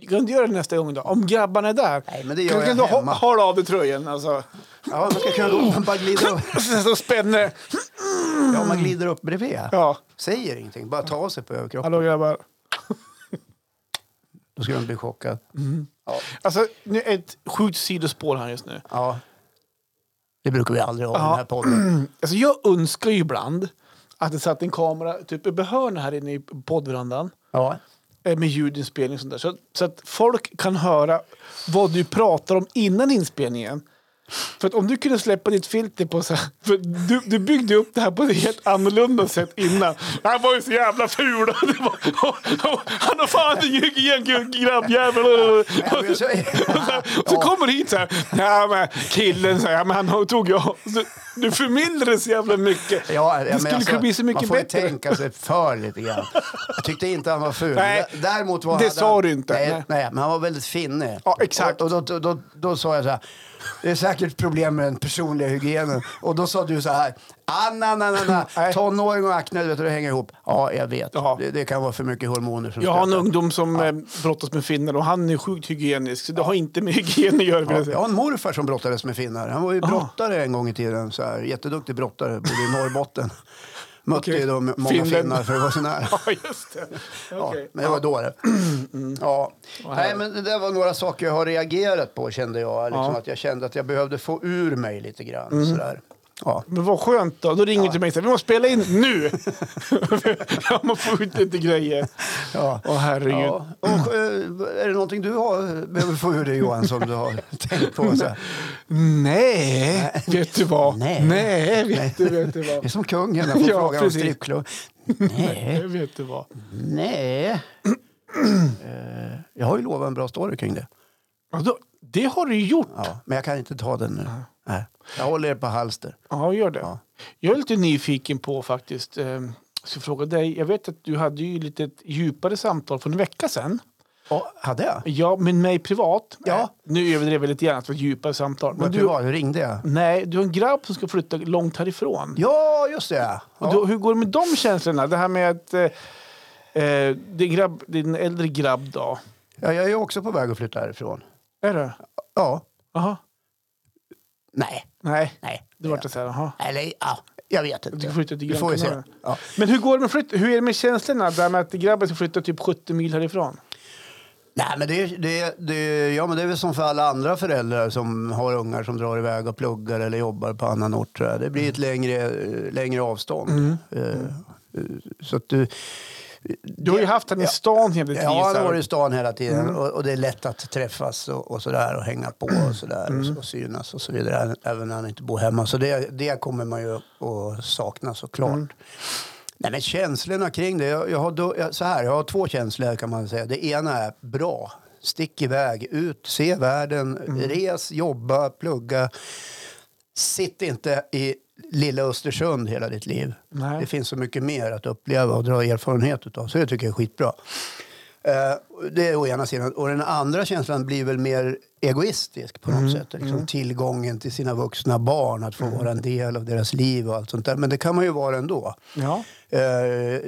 S1: Grundgör det nästa gång då. Om grabbarna är där.
S2: Nej, men det gör jag
S1: kan du
S2: hemma.
S1: ha, ha av dig tröjan alltså. <laughs>
S2: Ja, man ska kunna gå. Man bara glider upp.
S1: Sen så spänner
S2: Ja, man glider upp bredvid.
S1: Ja,
S2: Säger ingenting, bara tar sig på överkroppen.
S1: hallå grabbar.
S2: Då skulle de bli chockad. Ja.
S1: Alltså, nu är ett sjukt sidospår här just nu.
S2: ja. Det brukar vi aldrig ha i
S1: Ja.
S2: den här podden.
S1: Alltså, jag önskar ju ibland att det satt en kamera typ uppe i hörnet här inne i poddverandan
S2: Ja.
S1: eh, med ljudinspelning och sånt där. Så, så att folk kan höra vad du pratar om innan inspelningen. För att om du kunde släppa ditt filter på så här, för du, du byggde upp det här på ett helt annorlunda sätt innan. Han var ju så jävla ful! <laughs> Det var, han har fan ingen hygien grabbjävel!
S2: Ja, men jag säger-
S1: Och så, här, och så kommer du hit så här. Ja, men killen, så här, ja, men han tog jag. Så, du förmildrade så jävla mycket.
S2: Ja,
S1: det
S2: men alltså,
S1: skulle kunna bli så mycket
S2: man får ju
S1: bättre.
S2: tänka sig för lite grann. Jag tyckte inte han var
S1: <laughs>
S2: ful.
S1: Nej,
S2: Dä- Däremot var
S1: det
S2: hade
S1: sa
S2: han,
S1: du inte. Nej.
S2: Nej, nej, men han var väldigt finnig.
S1: Ja, exakt.
S2: Och, och då, då, då, då sa jag så här, det är säkert problem med den personliga hygienen. Och då sa du så här, ah, na, na, na, na.
S1: <laughs> Nej.
S2: tonåring och akne, du vet, det hänger ihop. Ja, jag vet.
S1: Ja.
S2: Det, det kan vara för mycket hormoner som
S1: Jag har en
S2: stöter.
S1: ungdom som eh, brottas med finnar och han är sjukt hygienisk. Så det har inte med hygien att göra. vill
S2: Ja,
S1: jag
S2: jag
S1: säga.
S2: har en morfar som brottades med finnar. Han var ju brottare en gång i tiden. Så här, jätteduktig brottare, bodde i
S1: <laughs>
S2: Norrbotten. Mötte
S1: Okej.
S2: ju då många
S1: Finnen.
S2: finnar för att vara
S1: <laughs>
S2: så nära.
S1: Ja, just det.
S2: Ja,
S1: Okej.
S2: men det var då det. <clears throat> Mm. Ja. Nej, men det där var några saker jag har reagerat på kände jag. Liksom
S1: Ja. Mm.
S2: Att jag kände att jag behövde få ur mig lite grann. Sådär. Ja.
S1: Men vad skönt då. Då ringer du till mig och säger vi måste spela in
S2: <laughs>
S1: nu. jag måste få ut lite grejer.
S2: Ja.
S1: Åh herregud.
S2: Ja. Och, eh, är det någonting du har, behöver få ur dig Johan som du har <laughs> tänkt på? Så här?
S1: Nej, vet du vad?
S2: Nej.
S1: <laughs> Nej, vet du, vet
S2: <laughs>
S1: du
S2: Det är
S1: vad?
S2: som kungen, han får
S1: Ja,
S2: frågan om
S1: precis.
S2: strippklubb. Nej,
S1: Nej, vet du vad?
S2: nej.
S1: <clears throat>
S2: Eh, jag har ju lovat en bra story kring det.
S1: Ja, då, det har du ju gjort.
S2: Ja, men jag kan inte ta den nu. Nej. Jag håller er på halster.
S1: Ja, gör det.
S2: Ja.
S1: Jag är lite nyfiken på faktiskt, eh, ska fråga dig. Jag vet att du hade ju lite ett djupare samtal för en vecka sedan.
S2: Ja, hade jag?
S1: Ja, men mig privat.
S2: Ja.
S1: Eh, Nu överdrev jag lite grann att det var ett djupare samtal.
S2: Men
S1: Men
S2: du...
S1: du,
S2: Privat, ringde jag?
S1: nej, du har en grabb som ska flytta långt härifrån.
S2: Ja, just det.
S1: Och
S2: Ja.
S1: då, hur går det med de känslorna? Det här med att eh, eh, din, grabb, din äldre grabb då.
S2: Ja, jag är också på väg att flytta härifrån.
S1: Är det?
S2: Ja.
S1: Jaha.
S2: Nej.
S1: Nej,
S2: Nej.
S1: det vart det så här. Jaha.
S2: Eller ja, jag vet
S1: Du
S2: inte.
S1: kan flytta till
S2: Vi får ju se.
S1: grannkommunen.
S2: Ja.
S1: Men hur går det med flytt? Hur är det med känslorna? Där med att grabben ska flytta typ 70 mil härifrån.
S2: Nej, men det, det, det, ja, men det är väl som för alla andra föräldrar som har ungar som drar iväg och pluggar eller jobbar på annan ort. tror jag. Det blir ett
S1: Mm.
S2: längre, eh, längre avstånd. Eh, eh, Så att du,
S1: Du har ju haft han i stan hela tiden.
S2: Ja, han
S1: så
S2: har
S1: här.
S2: varit i stan hela tiden och, och det är lätt att träffas och, och sådär och hänga på och sådär och, och synas och så vidare. Även när han inte bor hemma. Så det, det kommer man ju att sakna såklart. Nej, men känslorna kring det. Jag, jag, har då, jag, så här, jag har två känslor kan man säga. Det ena är bra. Stick iväg, ut, se världen, res, jobba, plugga. Sitt inte i lilla Östersund hela ditt liv.
S1: Nej.
S2: Det finns så mycket mer att uppleva och dra erfarenhet utav. Så det tycker jag är skitbra. Eh, Det är å ena sidan. Och den andra känslan blir väl mer egoistisk på något sätt. Liksom Tillgången till sina vuxna barn, att få vara en del av deras liv och allt sånt där. Men det kan man ju vara ändå.
S1: Ja.
S2: Eh,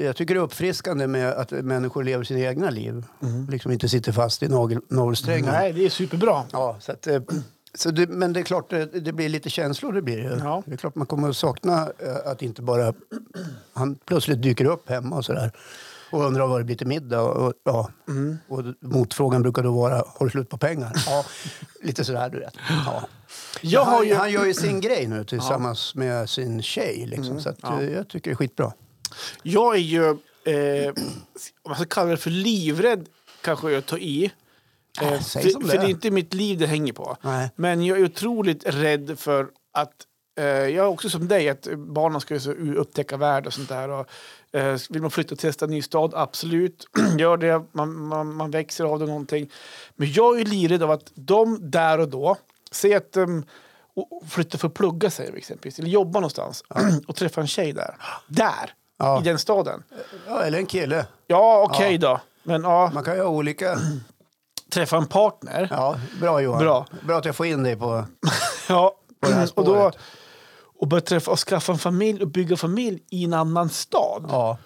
S2: Jag tycker det är uppfriskande med att människor lever sina egna liv. Liksom inte sitter fast i nagel- navelsträngar.
S1: Nej, det är superbra.
S2: Ja, så att, eh, så det, men det är klart, det, det blir lite känslor. Det, blir. det ju.
S1: Ja.
S2: det är klart man kommer att sakna eh, att inte bara han plötsligt dyker upp hemma och sådär. Och undrar vad det blir till middag. Och, och, ja.
S1: Mm.
S2: och motfrågan brukar då vara, har du slut på pengar? Ja, <laughs> lite sådär du vet. Ja.
S1: Jag
S2: han,
S1: har ju...
S2: han gör ju sin grej nu tillsammans med sin tjej. Liksom, så att,
S1: Mm. ja.
S2: eh, jag tycker det är skitbra.
S1: Jag är ju, eh, om man ska kalla det för livrädd, kanske jag tar i. Eh,
S2: säg
S1: för,
S2: som det
S1: för det
S2: är.
S1: är inte mitt liv det hänger på.
S2: Nej.
S1: Men jag är otroligt rädd för att, eh, jag är också som dig, att barnen ska ju så upptäcka värld och sånt där. Och, eh, vill man flytta och testa en ny stad, absolut, <clears throat> gör det. Man, man, man växer av det någonting. Men jag är ju livrädd av att de där och då, säg att de flyttar för att plugga sig exempelvis, eller jobba någonstans <clears throat> och träffa en tjej där. Där!
S2: Ja.
S1: I den staden.
S2: Ja, eller en kille.
S1: Ja, okej då. Men ja,
S2: Man kan ju
S1: <clears throat>
S2: ha olika.
S1: träffa en partner. Ja.
S2: Ja, bra Johan.
S1: Bra.
S2: bra att jag får in dig på... det här
S1: och då
S2: spåret.
S1: och börja träffa och skaffa en familj och bygga familj i en annan stad
S2: Ja.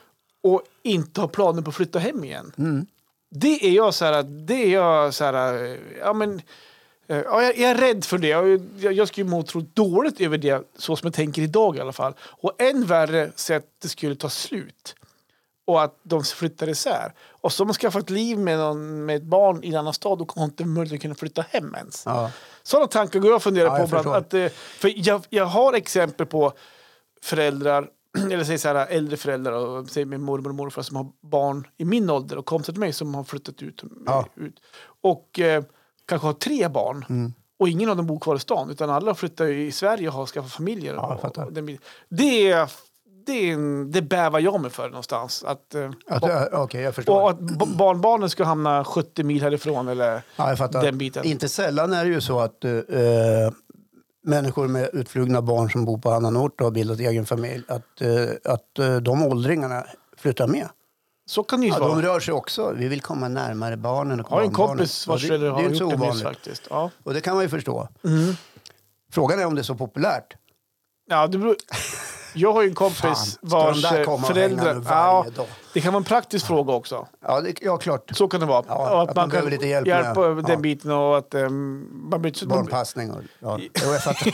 S1: och inte ha planer på att flytta hem igen. Det är jag så här, att- det är jag så här, eh, ja men, eh, ja, jag, jag är rädd för det. Jag, jag, jag skulle må otroligt dåligt över det, så som jag tänker idag i alla fall. Och än värre, så att det skulle ta slut. Och att de flyttar isär. Och så har man skaffat liv med, någon, med ett barn i en annan stad, då kommer man inte möjlighet att kunna flytta hem ens.
S2: Ja.
S1: Sådana tankar går jag och funderar
S2: Ja,
S1: på.
S2: jag
S1: Bland,
S2: förstår.
S1: att, eh, för jag, jag har exempel på föräldrar, <clears throat> eller säg så här, äldre föräldrar, och, säg min mormor och morfar som har barn i min ålder och kompisar till mig som har flyttat ut.
S2: Ja.
S1: ut och eh, kanske har tre barn.
S2: Mm.
S1: Och ingen av dem bor kvar i stan, utan alla flyttar ju i Sverige och har skaffat familjer.
S2: Ja, jag fattar.
S1: Och den biten. det, är, det, är en, det bävar jag mig för någonstans. Att, eh,
S2: Att, ja, Okej, jag förstår.
S1: och att b- barnbarnen ska hamna 70 mil härifrån eller
S2: Ja, jag fattar.
S1: den biten.
S2: Inte sällan är det ju så att eh, eh, människor med utflugna barn som bor på annan ort och har bildat egen familj, att, eh, att eh, de åldringarna flyttar med.
S1: Så kan det ju
S2: Ja,
S1: vara.
S2: de rör sig också. Vi vill komma närmare barnen och
S1: Jag har en
S2: barnbarnen.
S1: kompis
S2: Och
S1: vars föräldrar har
S2: det är
S1: gjort
S2: inte så
S1: det nyss
S2: ovanligt.
S1: faktiskt. Ja.
S2: Och det kan man ju förstå.
S1: Mm.
S2: Frågan är om det är så populärt.
S1: Ja, det beror... Jag har ju en
S2: Fan,
S1: kompis
S2: ska de
S1: vars eh,
S2: där komma och hänga
S1: föräldrar...
S2: nu
S1: Ja,
S2: varje dag?
S1: det kan vara en praktisk fråga också.
S2: Ja, det, ja klart.
S1: Så kan det vara.
S2: Ja,
S1: Och
S2: att man behöver lite hjälp med-
S1: hjälpa med. den
S2: ja.
S1: biten och att ehm, man blir...
S2: Barnpassning och... Ja, Jo,
S1: <laughs>
S2: jag fattar.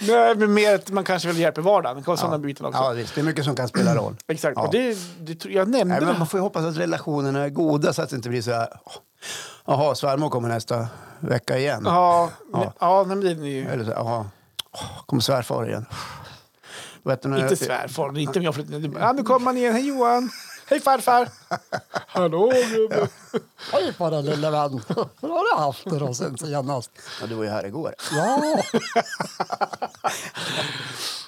S1: Nej, men mer att man kanske vill hjälpa i vardagen. Det kan vara sådana biten också.
S2: ja, visst. Det är mycket som kan spela roll.
S1: Exakt.
S2: Ja.
S1: Och det, det, tror- jag nämnde
S2: Nej,
S1: det.
S2: men man får ju hoppas att relationerna är goda så att det inte blir så här... "Åh, Jaha, svärmor kommer nästa vecka igen.
S1: Ja, ja.
S2: Ja. Eh,
S1: ja nej, men det är ju...
S2: Eller så här, jaha, åh, kommer svärfar igen. Vet du, när
S1: Inte svärfar, inte om jag flyttar
S2: eh.
S1: ner. Ja, nu kommer man igen. Hej Johan! Hej
S2: <laughs>
S1: farfar! Hallå gubben!
S3: Hej på dig lille <laughs> vän! Hur har du haft det då sen senast?
S2: Ja, du var ju här igår.
S3: Ja,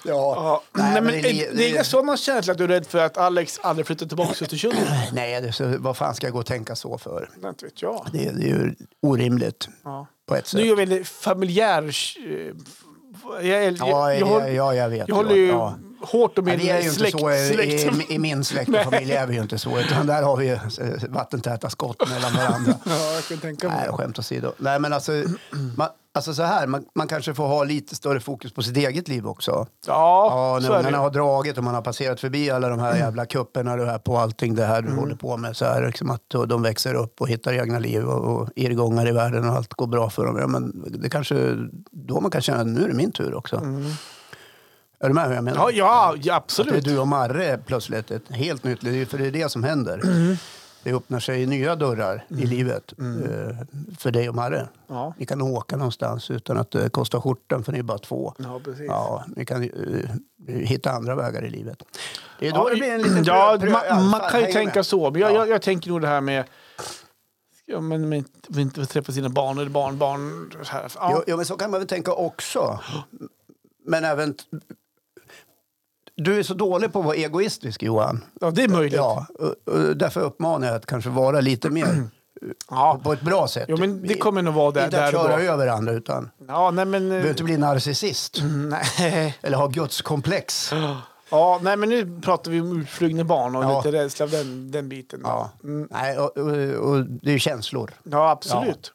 S2: Ja.
S1: Ja. Nej,
S2: Nej,
S1: men
S2: men
S1: är,
S2: det li-
S1: det är inga sådana känslor att du är rädd för att Alex aldrig flyttar tillbaka till
S2: <clears throat>
S1: Östersund?
S2: Nej, det, så, vad fan ska jag gå och tänka så för?
S1: Inte vet jag.
S2: Det, det är ju orimligt
S1: Ja.
S2: på ett
S1: Du är
S2: sätt.
S1: ju väldigt familjär. eh, Jag, är,
S2: Ja,
S1: jag, jag, håll-
S2: ja, ja, jag vet.
S1: jag håller ju
S2: Ja.
S1: hårt om
S2: Men
S1: min
S2: det är ju
S1: släkt.
S2: inte så i,
S1: släkt.
S2: i, i min släkt och familj. är vi ju inte så. Utan där har vi ju eh, vattentäta skott mellan
S1: <laughs>
S2: varandra.
S1: <laughs> ja, jag kan tänka mig.
S2: Nej, skämt åsido. Nej, men alltså, <clears throat> man, alltså så här, man, man kanske får ha lite större fokus på sitt eget liv också. Ja,
S1: Ja, så är
S2: när
S1: det. Mm.
S2: ungarna har dragit och man har passerat förbi alla de här jävla kupperna du är på allting det här du håller på med. Så här, liksom att och de växer upp och hittar egna liv och, och irrgångar i världen och allt går bra för dem. Ja, men det kanske då man kan känna att nu är det min tur också. Är du med hur jag menar?
S1: Mm. Ja, ja, ja,
S2: Det är
S1: absolut.
S2: du och Marre plötsligt, ett helt nytt liv. För det är det som händer. Det öppnar sig nya dörrar i livet eh, för dig och Marre.
S1: Mm. Ja.
S2: Ni kan åka någonstans utan att det kostar skjortan för ni är bara två.
S1: Ja, precis.
S2: Ja, ni kan eh, hitta andra vägar i livet. Det är då
S1: Ja,
S2: det blir en liten
S1: ja,
S2: prö- prö-
S1: man,
S2: i alla fall.
S1: man kan ju
S2: Häng
S1: tänka
S2: med.
S1: så. Men jag,
S2: Ja.
S1: jag, jag tänker nog det här med... Ja, men, men vi inte träffa sina barn eller barnbarn. så här. Ja.
S2: Jo, jo, men så kan man väl tänka också. Men även... t- Du är så dålig på att vara egoistisk, Johan.
S1: ja, det är möjligt.
S2: Ja, och- och därför uppmanar jag att kanske vara
S1: <clears throat>
S2: lite mer
S1: Ja.
S2: på ett bra sätt.
S1: Jo, men det kommer nog vara där,
S2: inte att
S1: där och
S2: köra
S1: då.
S2: över andra, utan du
S1: Ja, nej men... eh,
S2: behöver inte bli narcissist
S1: Nej.
S2: eller ha gudskomplex.
S1: Mm. Ja, nej men nu pratar vi om utflugna barn och
S2: Ja.
S1: lite rädsla av den, den biten.
S2: Ja. Nej, och, och, och det är ju känslor.
S1: Ja, absolut.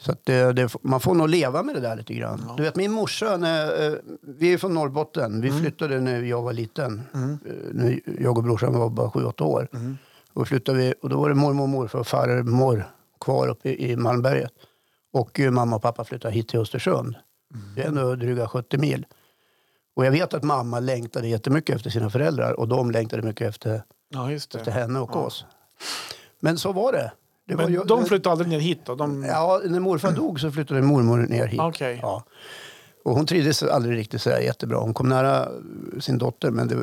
S2: Så att det, det, man får nog leva med det där lite grann. Du vet min morsa, när, eh, vi är från Norrbotten.
S1: Mm.
S2: Vi flyttade när jag var liten. Eh, När jag och brorsan var bara 7-8 år.
S1: Mm.
S2: Och, flyttade vi, och då var det mormor och morfar och farmor kvar uppe i i Malmberget. Och eh, mamma och pappa flyttade hit till Östersund.
S1: Mm.
S2: Det är ändå dryga 70 mil. Och jag vet att mamma längtade jättemycket efter sina föräldrar och de längtade mycket efter,
S1: Ja, just
S2: efter
S1: det.
S2: henne och oss. Men så var det. det var
S1: Men
S2: ju-
S1: de flyttade aldrig ner hit då? De...
S2: Ja, när morfar dog så flyttade mormor ner hit.
S1: Okej.
S2: Ja. Och hon trivdes aldrig riktigt så här jättebra. Hon kom nära eh, sin dotter men det,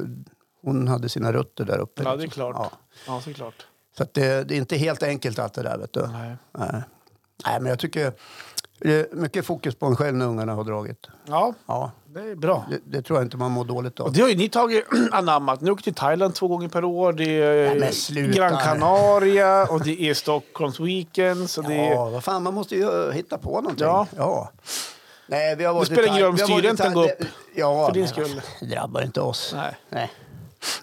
S2: hon hade sina rötter där uppe.
S1: Ja, det är
S2: liksom.
S1: klart.
S2: Ja.
S1: Ja, såklart.
S2: Så att det, det är inte helt enkelt allt det där. Vet du.
S1: Nej.
S2: Nej. Nej, men jag tycker det är mycket fokus på en själv när ungarna har dragit.
S1: Ja,
S2: Ja,
S1: det är bra.
S2: det, det tror jag inte man mår dåligt av.
S1: Och det har ju ni tagit <clears throat> anammat. Ni åker till Thailand två gånger per år. Det är
S2: Nej, men sluta
S1: Gran
S2: nu.
S1: Canaria och det är Stockholms weekends. Och det är...
S2: Ja, vad fan, man måste ju eh, hitta på någonting.
S1: Ja.
S2: Nej, vi har varit
S1: spelar
S2: i
S1: ingen roll om
S2: vi har varit i
S1: styrräntan
S2: Tha-
S1: går upp.
S2: Ja,
S1: För din
S2: men
S1: skull.
S2: Det drabbar inte oss.
S1: Nej.
S2: Nej.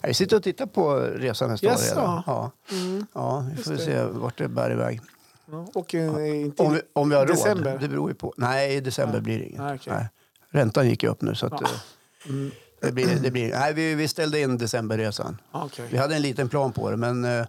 S2: Nej, Vi sitter och tittar på resan nästa år
S1: Jaså?
S2: redan. Ja. ja, vi får se vart det bär iväg.
S1: Ja, och eh, inte...
S2: Om vi, om vi har
S1: December?
S2: råd. Det beror ju på. Nej, i december blir det inget.
S1: Nej, okej.
S2: Räntan gick ju upp nu så att...
S1: Ja.
S2: eh,
S1: Mm.
S2: Det blir, det blir, nej, vi, vi ställde in decemberresan.
S1: Ah, okej.
S2: Vi hade en liten plan på det men eh,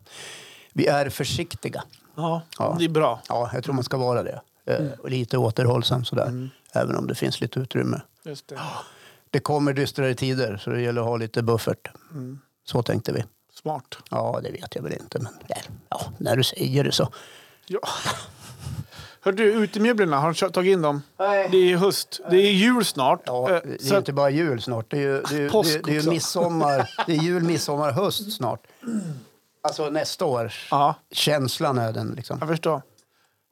S2: vi är försiktiga.
S1: Ja,
S2: Ja.
S1: det är bra.
S2: Ja, jag tror man ska vara det. Eh,
S1: Mm.
S2: och Lite återhållsam sådär, även om det finns lite utrymme.
S1: Just det.
S2: Ah, Det kommer dystrare tider så det gäller att ha lite buffert.
S1: Mm.
S2: Så tänkte vi.
S1: Smart.
S2: Ja, det vet jag väl inte, men nej, ja, när du säger det så.
S1: Ja. Hör du, utemöblerna, har du kö- tagit in dem?
S2: Nej.
S1: Det är höst, det är jul snart.
S2: Ja,
S1: Eh,
S2: det
S1: så
S2: är
S1: att-
S2: inte bara jul snart. Det är ju, det är, ju-
S1: Påsk
S2: det är, det är ju
S1: också. <laughs>
S2: midsommar. Det är jul, midsommar, höst snart. Alltså nästa år.
S1: ja,
S2: Känslan är den liksom.
S1: jag förstår.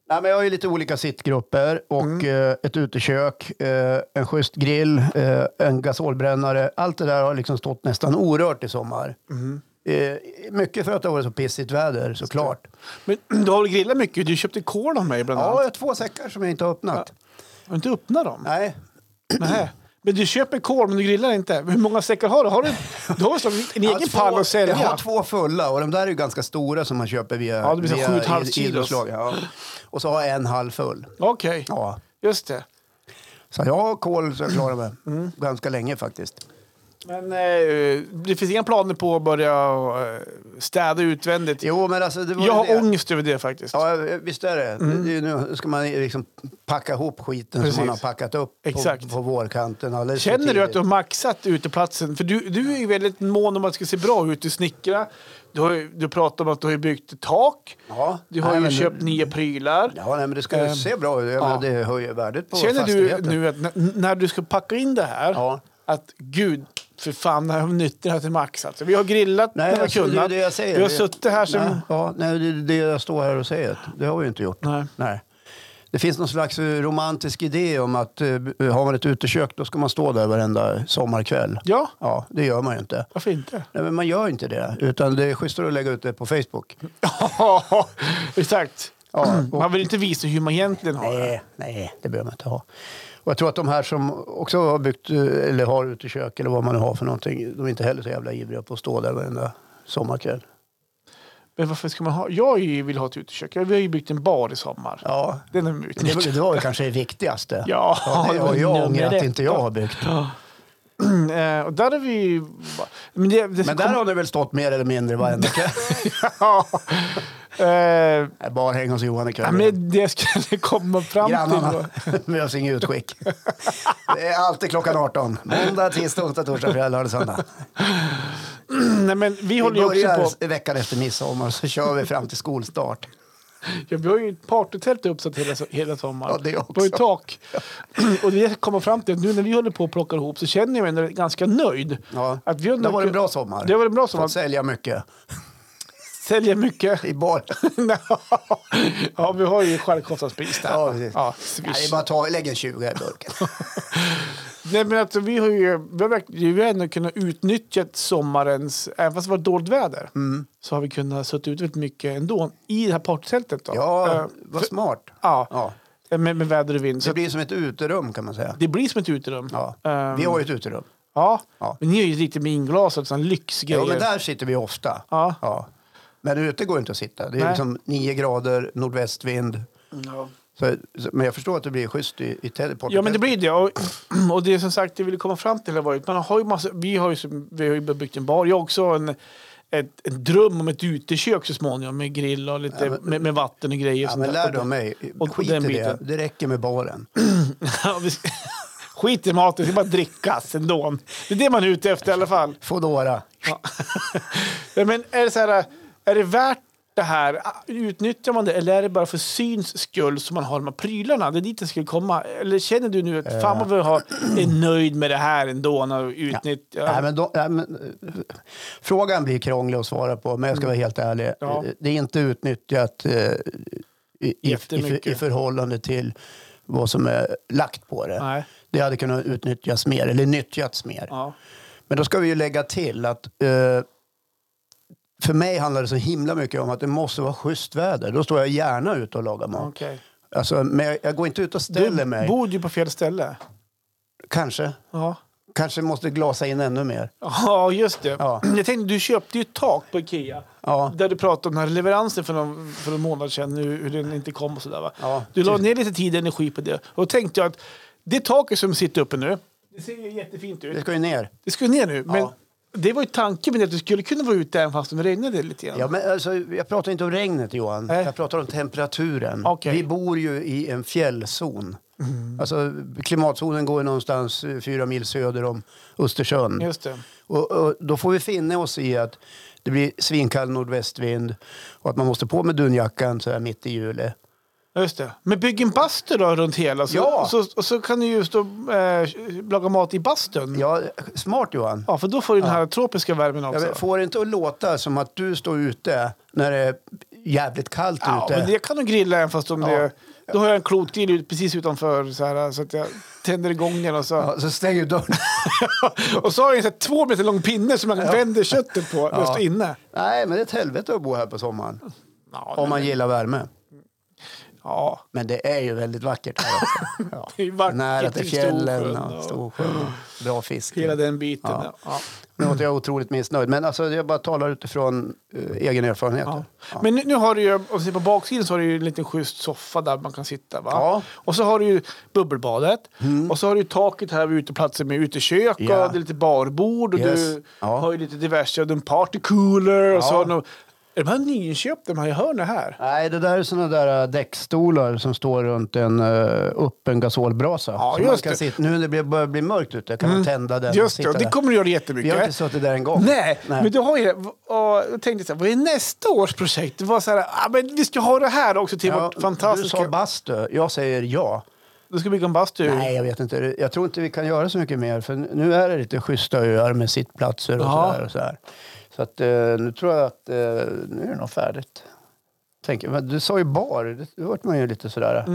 S2: Nej, men jag har ju lite olika sittgrupper och
S1: Mm.
S2: eh, ett utekök, eh, en schysst grill, eh, en gasolbrännare. Allt det där har liksom stått nästan orört i sommar.
S1: Mm.
S2: Eh, mycket för att det har varit så pissigt väder såklart.
S1: Men <clears throat> du har väl grillat mycket? Du köpte kol av mig bland
S2: Ja, jag
S1: annat.
S2: har två säckar som jag inte har öppnat.
S1: Har du inte öppnat dem?
S2: Nej,
S1: Nej. Men du köper kol, men du grillar inte. Hur många säckar har du? Har du,
S2: <laughs>
S1: du har väl som en
S2: Jag
S1: egen
S2: har två-
S1: pall att sälja?
S2: Jag har två fulla och de där är ju ganska stora som man köper via,
S1: Ja, det blir så
S2: via
S1: sju och ett halvt
S2: id-
S1: kilos.
S2: idrottslag, Ja. Och så har jag en halv full.
S1: Okej,
S2: Ja.
S1: just det.
S2: Så jag har kol så jag klarar mig
S1: Mm.
S2: ganska länge faktiskt.
S1: Men eh, det finns inga planer på att börja eh, städa utvändigt?
S2: Jo, men alltså det var
S1: Jag
S2: ju
S1: har
S2: det.
S1: ångest över det faktiskt.
S2: Ja, visst är det. det är ju nu ska man liksom packa ihop skiten
S1: Precis.
S2: som man har packat upp
S1: Exakt.
S2: på, på vårkanten. alldeles för
S1: Känner du att
S2: tidigt.
S1: du har maxat uteplatsen? För du, du är ju väldigt mån om att det ska se bra ut. Du snickrar, du, har, ju- du pratar om att du har ju byggt ett tak,
S2: Ja.
S1: du har
S2: Nej,
S1: ju
S2: men-
S1: köpt nya prylar.
S2: Ja, nej, men det ska ju
S1: Ehm,
S2: se bra ut. Jag
S1: ja.
S2: menar, Det höjer värdet på
S1: Känner du
S2: fastigheten.
S1: nu att n- när du ska packa in det här,
S2: Ja.
S1: att gud, för fan, det här har vi nyttjat till max. Alltså, vi har grillat när vi har
S2: alltså, det är
S1: kunnat.
S2: det jag säger.
S1: Vi har
S2: Det-
S1: suttit här som...
S2: Nej, ja, nej, det är det jag står här och säger. Det har vi ju inte gjort.
S1: Nej.
S2: Det finns någon slags eh, romantisk idé om att eh, har man ett utekök då ska man stå där varenda sommarkväll.
S1: Ja,
S2: Ja, det gör man ju inte.
S1: varför
S2: <laughs>
S1: inte?
S2: Nej, men man gör inte det, utan det är schysstare att lägga ut det på Facebook.
S1: Ja, exakt. Mm.
S2: Ja, och,
S1: Man vill inte visa hur man egentligen har det.
S2: nej, nej, det behöver man inte ha. Och jag tror att de här som också har byggt eh, eller har utekök eller vad man nu har för någonting, de är inte heller så jävla ivriga på att stå där varenda sommarkväll.
S1: Men varför ska man ha? Jag är ju- vill ha ett utekök. Vi har ju byggt en bar i sommar.
S2: Ja,
S1: Den har vi
S2: det, var-
S1: utnyttjat.
S2: det var ju kanske det viktigaste.
S1: Ja,
S2: Ja, det har jag ångrat att inte jag
S1: har. <clears throat>
S2: har byggt.
S1: Eh, Och där har vi ju... Men det, det
S2: Men där har det väl stått mer eller mindre varenda kväll.
S1: <laughs>
S2: <laughs>
S1: Ja. Eh,
S2: Jag Bara häng hos Johan ikväll.
S1: ja, men det skulle <laughs> komma fram till.
S2: Grannarna
S1: då. <clears throat>
S2: <laughs> behövs inget utskick. Det är alltid klockan 18. Måndag, tisdag, onsdag, torsdag, fredag, lördag, söndag.
S1: Nej, men vi
S2: Vi
S1: håller ju
S2: börjar
S1: också på...
S2: s- veckan efter midsommar så kör vi fram till skolstart.
S1: Ja, vi har ju ett partytält uppsatt hela, so- hela sommaren.
S2: Ja, det också.
S1: På ett
S2: <clears throat>
S1: tak. <clears throat> Och det kommer fram till att nu när vi håller på och plockar ihop så känner jag mig ändå ganska nöjd.
S2: Ja.
S1: Att vi har
S2: Det var en
S1: mycket-
S2: bra sommar.
S1: Det var en bra
S2: Fått
S1: sommar.
S2: sälja mycket
S1: Säljer mycket. <laughs>
S2: i bar.
S1: ja, vi har ju självkostnadspris där.
S2: Ja, precis.
S1: ja,
S2: Nej, det är
S1: swish.
S2: bara att ta, lägg en 20 i burken.
S1: Nej, men alltså, vi har ju vi har, verkligen- vi har ändå kunnat utnyttja sommarens, även fast det var dåligt väder,
S2: Mm.
S1: så har vi kunnat suttit ut väldigt mycket ändå i det här partytältet. Då. Eh,
S2: Ja, vad smart.
S1: ja.
S2: Ja.
S1: Med, med väder och vind. Så
S2: Det
S1: att
S2: blir som ett uterum kan man säga.
S1: det blir som ett uterum.
S2: Ja.
S1: Ehm,
S2: Vi har ju ett uterum.
S1: ja.
S2: Ja.
S1: men ni är ju riktigt med inglasat, sån lyxgrejer.
S2: Ja, men där sitter vi ofta.
S1: Ja.
S2: Ja. Men ute går inte att sitta. Det är
S1: Nej.
S2: liksom 9 grader, nordvästvind.
S1: Ja.
S2: Så, så, men jag förstår att det blir schysst i, i teleport.
S1: Ja, men det blir det. Och, <clears throat> och det är som sagt, det vill komma fram till har varit, man har ju massa, vi har ju, som- vi har ju byggt en bar. Jag har också en, ett, en dröm om ett utekök så småningom med grill och lite, med, med vatten och grejer. och
S2: Ja,
S1: sånt
S2: men
S1: där.
S2: lär dem mig.
S1: och
S2: Skit
S1: den
S2: i det.
S1: biten.
S2: Det räcker med baren.
S1: <laughs> Ja, vi ska- Skit i maten, det ska bara drickas ändå. Det är det man är ute efter i alla fall.
S2: Foodora.
S1: Ja, <laughs> Men är det, så här, är det värt det här? Utnyttjar man det eller är det bara för syns skull som man har de här prylarna? Det är dit det skulle komma. Eller känner du nu att fan vad vi har, är nöjd med det här ändå? När vi utnyttjar.
S2: Nej, men då, nej, men, eh, frågan blir krånglig att svara på, men jag ska vara helt ärlig.
S1: Mm. Ja.
S2: Det är inte utnyttjat eh, i, i, i,
S1: Jättemycket.
S2: i förhållande till vad som är lagt på det.
S1: Nej.
S2: Det hade kunnat utnyttjas mer, eller nyttjats mer.
S1: Ja.
S2: Men då ska vi ju lägga till att eh, för mig handlar det så himla mycket om att det måste vara schysst väder. Då står jag gärna ute och lagar mat.
S1: Okej.
S2: Alltså, men jag, jag går inte ut och ställer
S1: Du
S2: mig.
S1: bor ju på fel ställe.
S2: Kanske.
S1: Ja.
S2: Kanske måste glasa in ännu mer.
S1: Ja, just det.
S2: Ja.
S1: Jag tänkte, du köpte ju ett tak på Ikea.
S2: Ja.
S1: Där du pratade om den här leveransen för någon, för en månad sedan, hur, hur den inte kom och sådär va?
S2: Ja.
S1: Du la ner lite tid och energi på det. Och då tänkte jag att det taket som sitter uppe nu, det ser ju jättefint
S2: Det
S1: ut.
S2: ska ju ner.
S1: Det ska ju ner nu, men Det var ju tanken med det, att du skulle kunna vara ute även fast det regnade lite grann.
S2: Ja, men alltså, jag pratar inte om regnet, Johan.
S1: Nej.
S2: Jag pratar om temperaturen.
S1: Okej. Mm.
S2: Vi bor ju i en fjällzon. Alltså, klimatzonen går ju någonstans eh, fyra mil söder om Östersund.
S1: Just det.
S2: Och, och då får vi finna oss i att det blir svinkall nordvästvind och att man måste på med dunjackan så här mitt i juli.
S1: Just det. Men bygg en bastu då runt hela. Så,
S2: Ja.
S1: så, och så kan du ju stå, eh, laga mat i bastun. Ja.
S2: Ja, smart Johan.
S1: för då får du den här tropiska värmen också.
S2: Jag vet, får det inte att låta som att du står ute när det är jävligt kallt
S1: ja,
S2: ute.
S1: men det kan du grilla även fast om
S2: Ja.
S1: det... Då har jag en klotgrill ut- precis utanför så, här, så att jag tänder igång den och så...
S2: Ja, så stänger dörren.
S1: och så har jag en så här, två meter lång pinne som man vänder köttet på när jag
S2: Ja.
S1: står inne.
S2: Nej, men det är ett helvete att bo här på sommaren.
S1: Ja,
S2: Om man gillar värme.
S1: ja.
S2: Men det är ju väldigt vackert här
S1: <laughs>
S2: också. Ja.
S1: Det är ju vackert
S2: Nära
S1: i
S2: till fjällen
S1: Storsjön
S2: och
S1: och-
S2: Storsjön. och Bra fisk.
S1: Hela den biten.
S2: Ja.
S1: Ja. Ja.
S2: Nu låter jag otroligt missnöjd, men alltså, jag bara talar utifrån eh, egen erfarenhet.
S1: Ja.
S2: Ja.
S1: Men nu, nu har du ju, om du ser på baksidan så har du ju en liten schysst soffa där man kan sitta. Va?
S2: Ja. Mm.
S1: Och så har du ju bubbelbadet. Och så har du ju taket här vid uteplatsen med utekök
S2: Ja.
S1: och det är lite barbord. Och
S2: Yes.
S1: du
S2: Ja.
S1: har ju lite diverse, och en partycooler. Och så
S2: Ja.
S1: har du, är de här nyinköpta, de här i hörnet här?
S2: Nej, det där är såna där äh, däckstolar som står runt en eh, öppen gasolbrasa.
S1: Ja,
S2: Så man
S1: just
S2: kan
S1: det. Mm.
S2: Sitta, nu när det blir- börjar bli mörkt ute kan man tända den och
S1: Just det,
S2: sitta
S1: och det
S2: där.
S1: kommer du göra
S2: Vi har inte
S1: jättemycket.
S2: suttit där en gång.
S1: Nej,
S2: Nej.
S1: men du har ju det. Och jag tänkte så här, vad är nästa års projekt? Det var så här, ah, men vi ska ha det här också till
S2: Ja,
S1: vårt fantastiska...
S2: Du sa bastu, jag säger ja.
S1: Du ska bygga en bastu.
S2: Nej, jag vet inte. Jag tror inte vi kan göra så mycket mer. För nu är det lite schyssta öar med sittplatser och
S1: Ja.
S2: sådär. Och sådär. Så att, eh, nu tror jag att eh, nu är det nog färdigt. Tänker, men du sa ju bar, det det vart man ju lite sådär.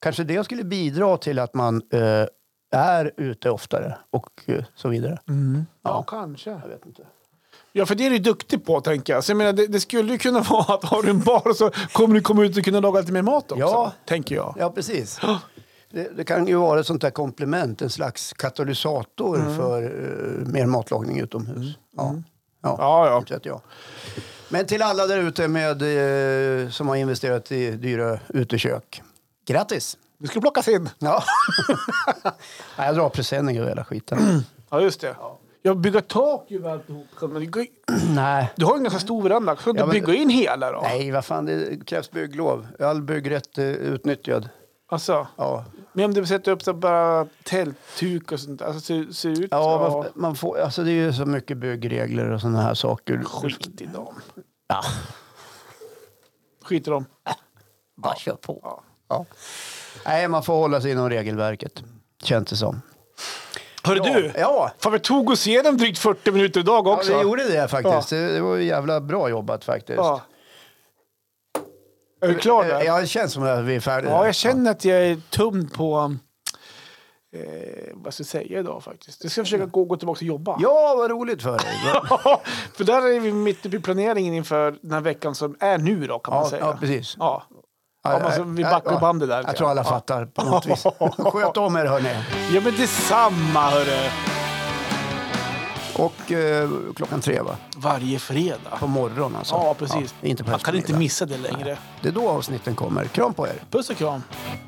S2: Kanske det skulle bidra till att man eh, är ute oftare och eh, så vidare.
S1: Ja, kanske.
S2: Jag vet inte.
S1: Ja, för det är du duktig på, tänker jag. Så jag menar, det, det skulle ju kunna <laughs> vara att har du en bar så kommer du komma ut och kunna laga lite mer mat också,
S2: Ja.
S1: tänker jag.
S2: Ja, precis. Det, det kan ju vara ett sånt där komplement, en slags katalysator för eh, mer matlagning utomhus. Ja. Ja.
S1: Ja, ja.
S2: Fortsätter jag. Men till alla där ute med, eh, som har investerat i dyra utekök. Grattis!
S1: Du ska plockas in.
S2: Ja. <laughs> Nej, jag drar presenning över hela <clears throat> skiten.
S1: Ja, just det. Jag bygger tak över alltihop. Men det går-
S2: Nej.
S1: Du har ju en ganska stor veranda. Ska du
S2: Ja, men-
S1: bygga in hela då?
S2: Nej, vad fan, det krävs bygglov. All byggrätt är utnyttjad.
S1: Alltså,
S2: Ja,
S1: men om du sätter upp så här bara tältduk och sånt där. Alltså, ser, ser ut
S2: ja
S1: så.
S2: man, man får, alltså det är ju så mycket byggregler och sådana här saker.
S1: Skit i dem.
S2: Ja,
S1: Skit i dem.
S2: bara kör på.
S1: Ja.
S2: Ja. Nej, man får hålla sig inom regelverket, känns det som.
S1: Hörru
S2: ja.
S1: du!
S2: Ja.
S1: Fan, vi tog oss igenom drygt 40 minuter idag
S2: ja,
S1: också.
S2: vi gjorde det faktiskt. Det, det var ju jävla bra jobbat faktiskt.
S1: Ja. Är du klar där?
S2: Eh, Ja, det känns som att vi är färdiga.
S1: Ja, jag känner att jag är tömd på um, eh, vad ska jag säga idag faktiskt. Jag ska försöka gå, gå tillbaka och jobba.
S2: Ja, vad roligt för dig. Ja,
S1: <laughs> för där är vi mitt uppe i planeringen inför den här veckan som är nu då kan man
S2: Ja,
S1: säga.
S2: ja, precis.
S1: Ja. Ja, men så vi
S2: ja,
S1: backar
S2: ja.
S1: bandet där.
S2: Jag tror alla fattar på
S1: <laughs>
S2: något vis. Sköt om er hörni.
S1: Ja, men detsamma hörru!
S2: Och eh, klockan tre va?
S1: Varje fredag.
S2: På morgonen alltså.
S1: Ja, precis.
S2: Ja, inte på
S1: man kan inte
S2: eftermiddagen.
S1: missa det längre.
S2: Det är då avsnitten kommer. Kram på er.
S1: Puss och kram!
S2: Hej.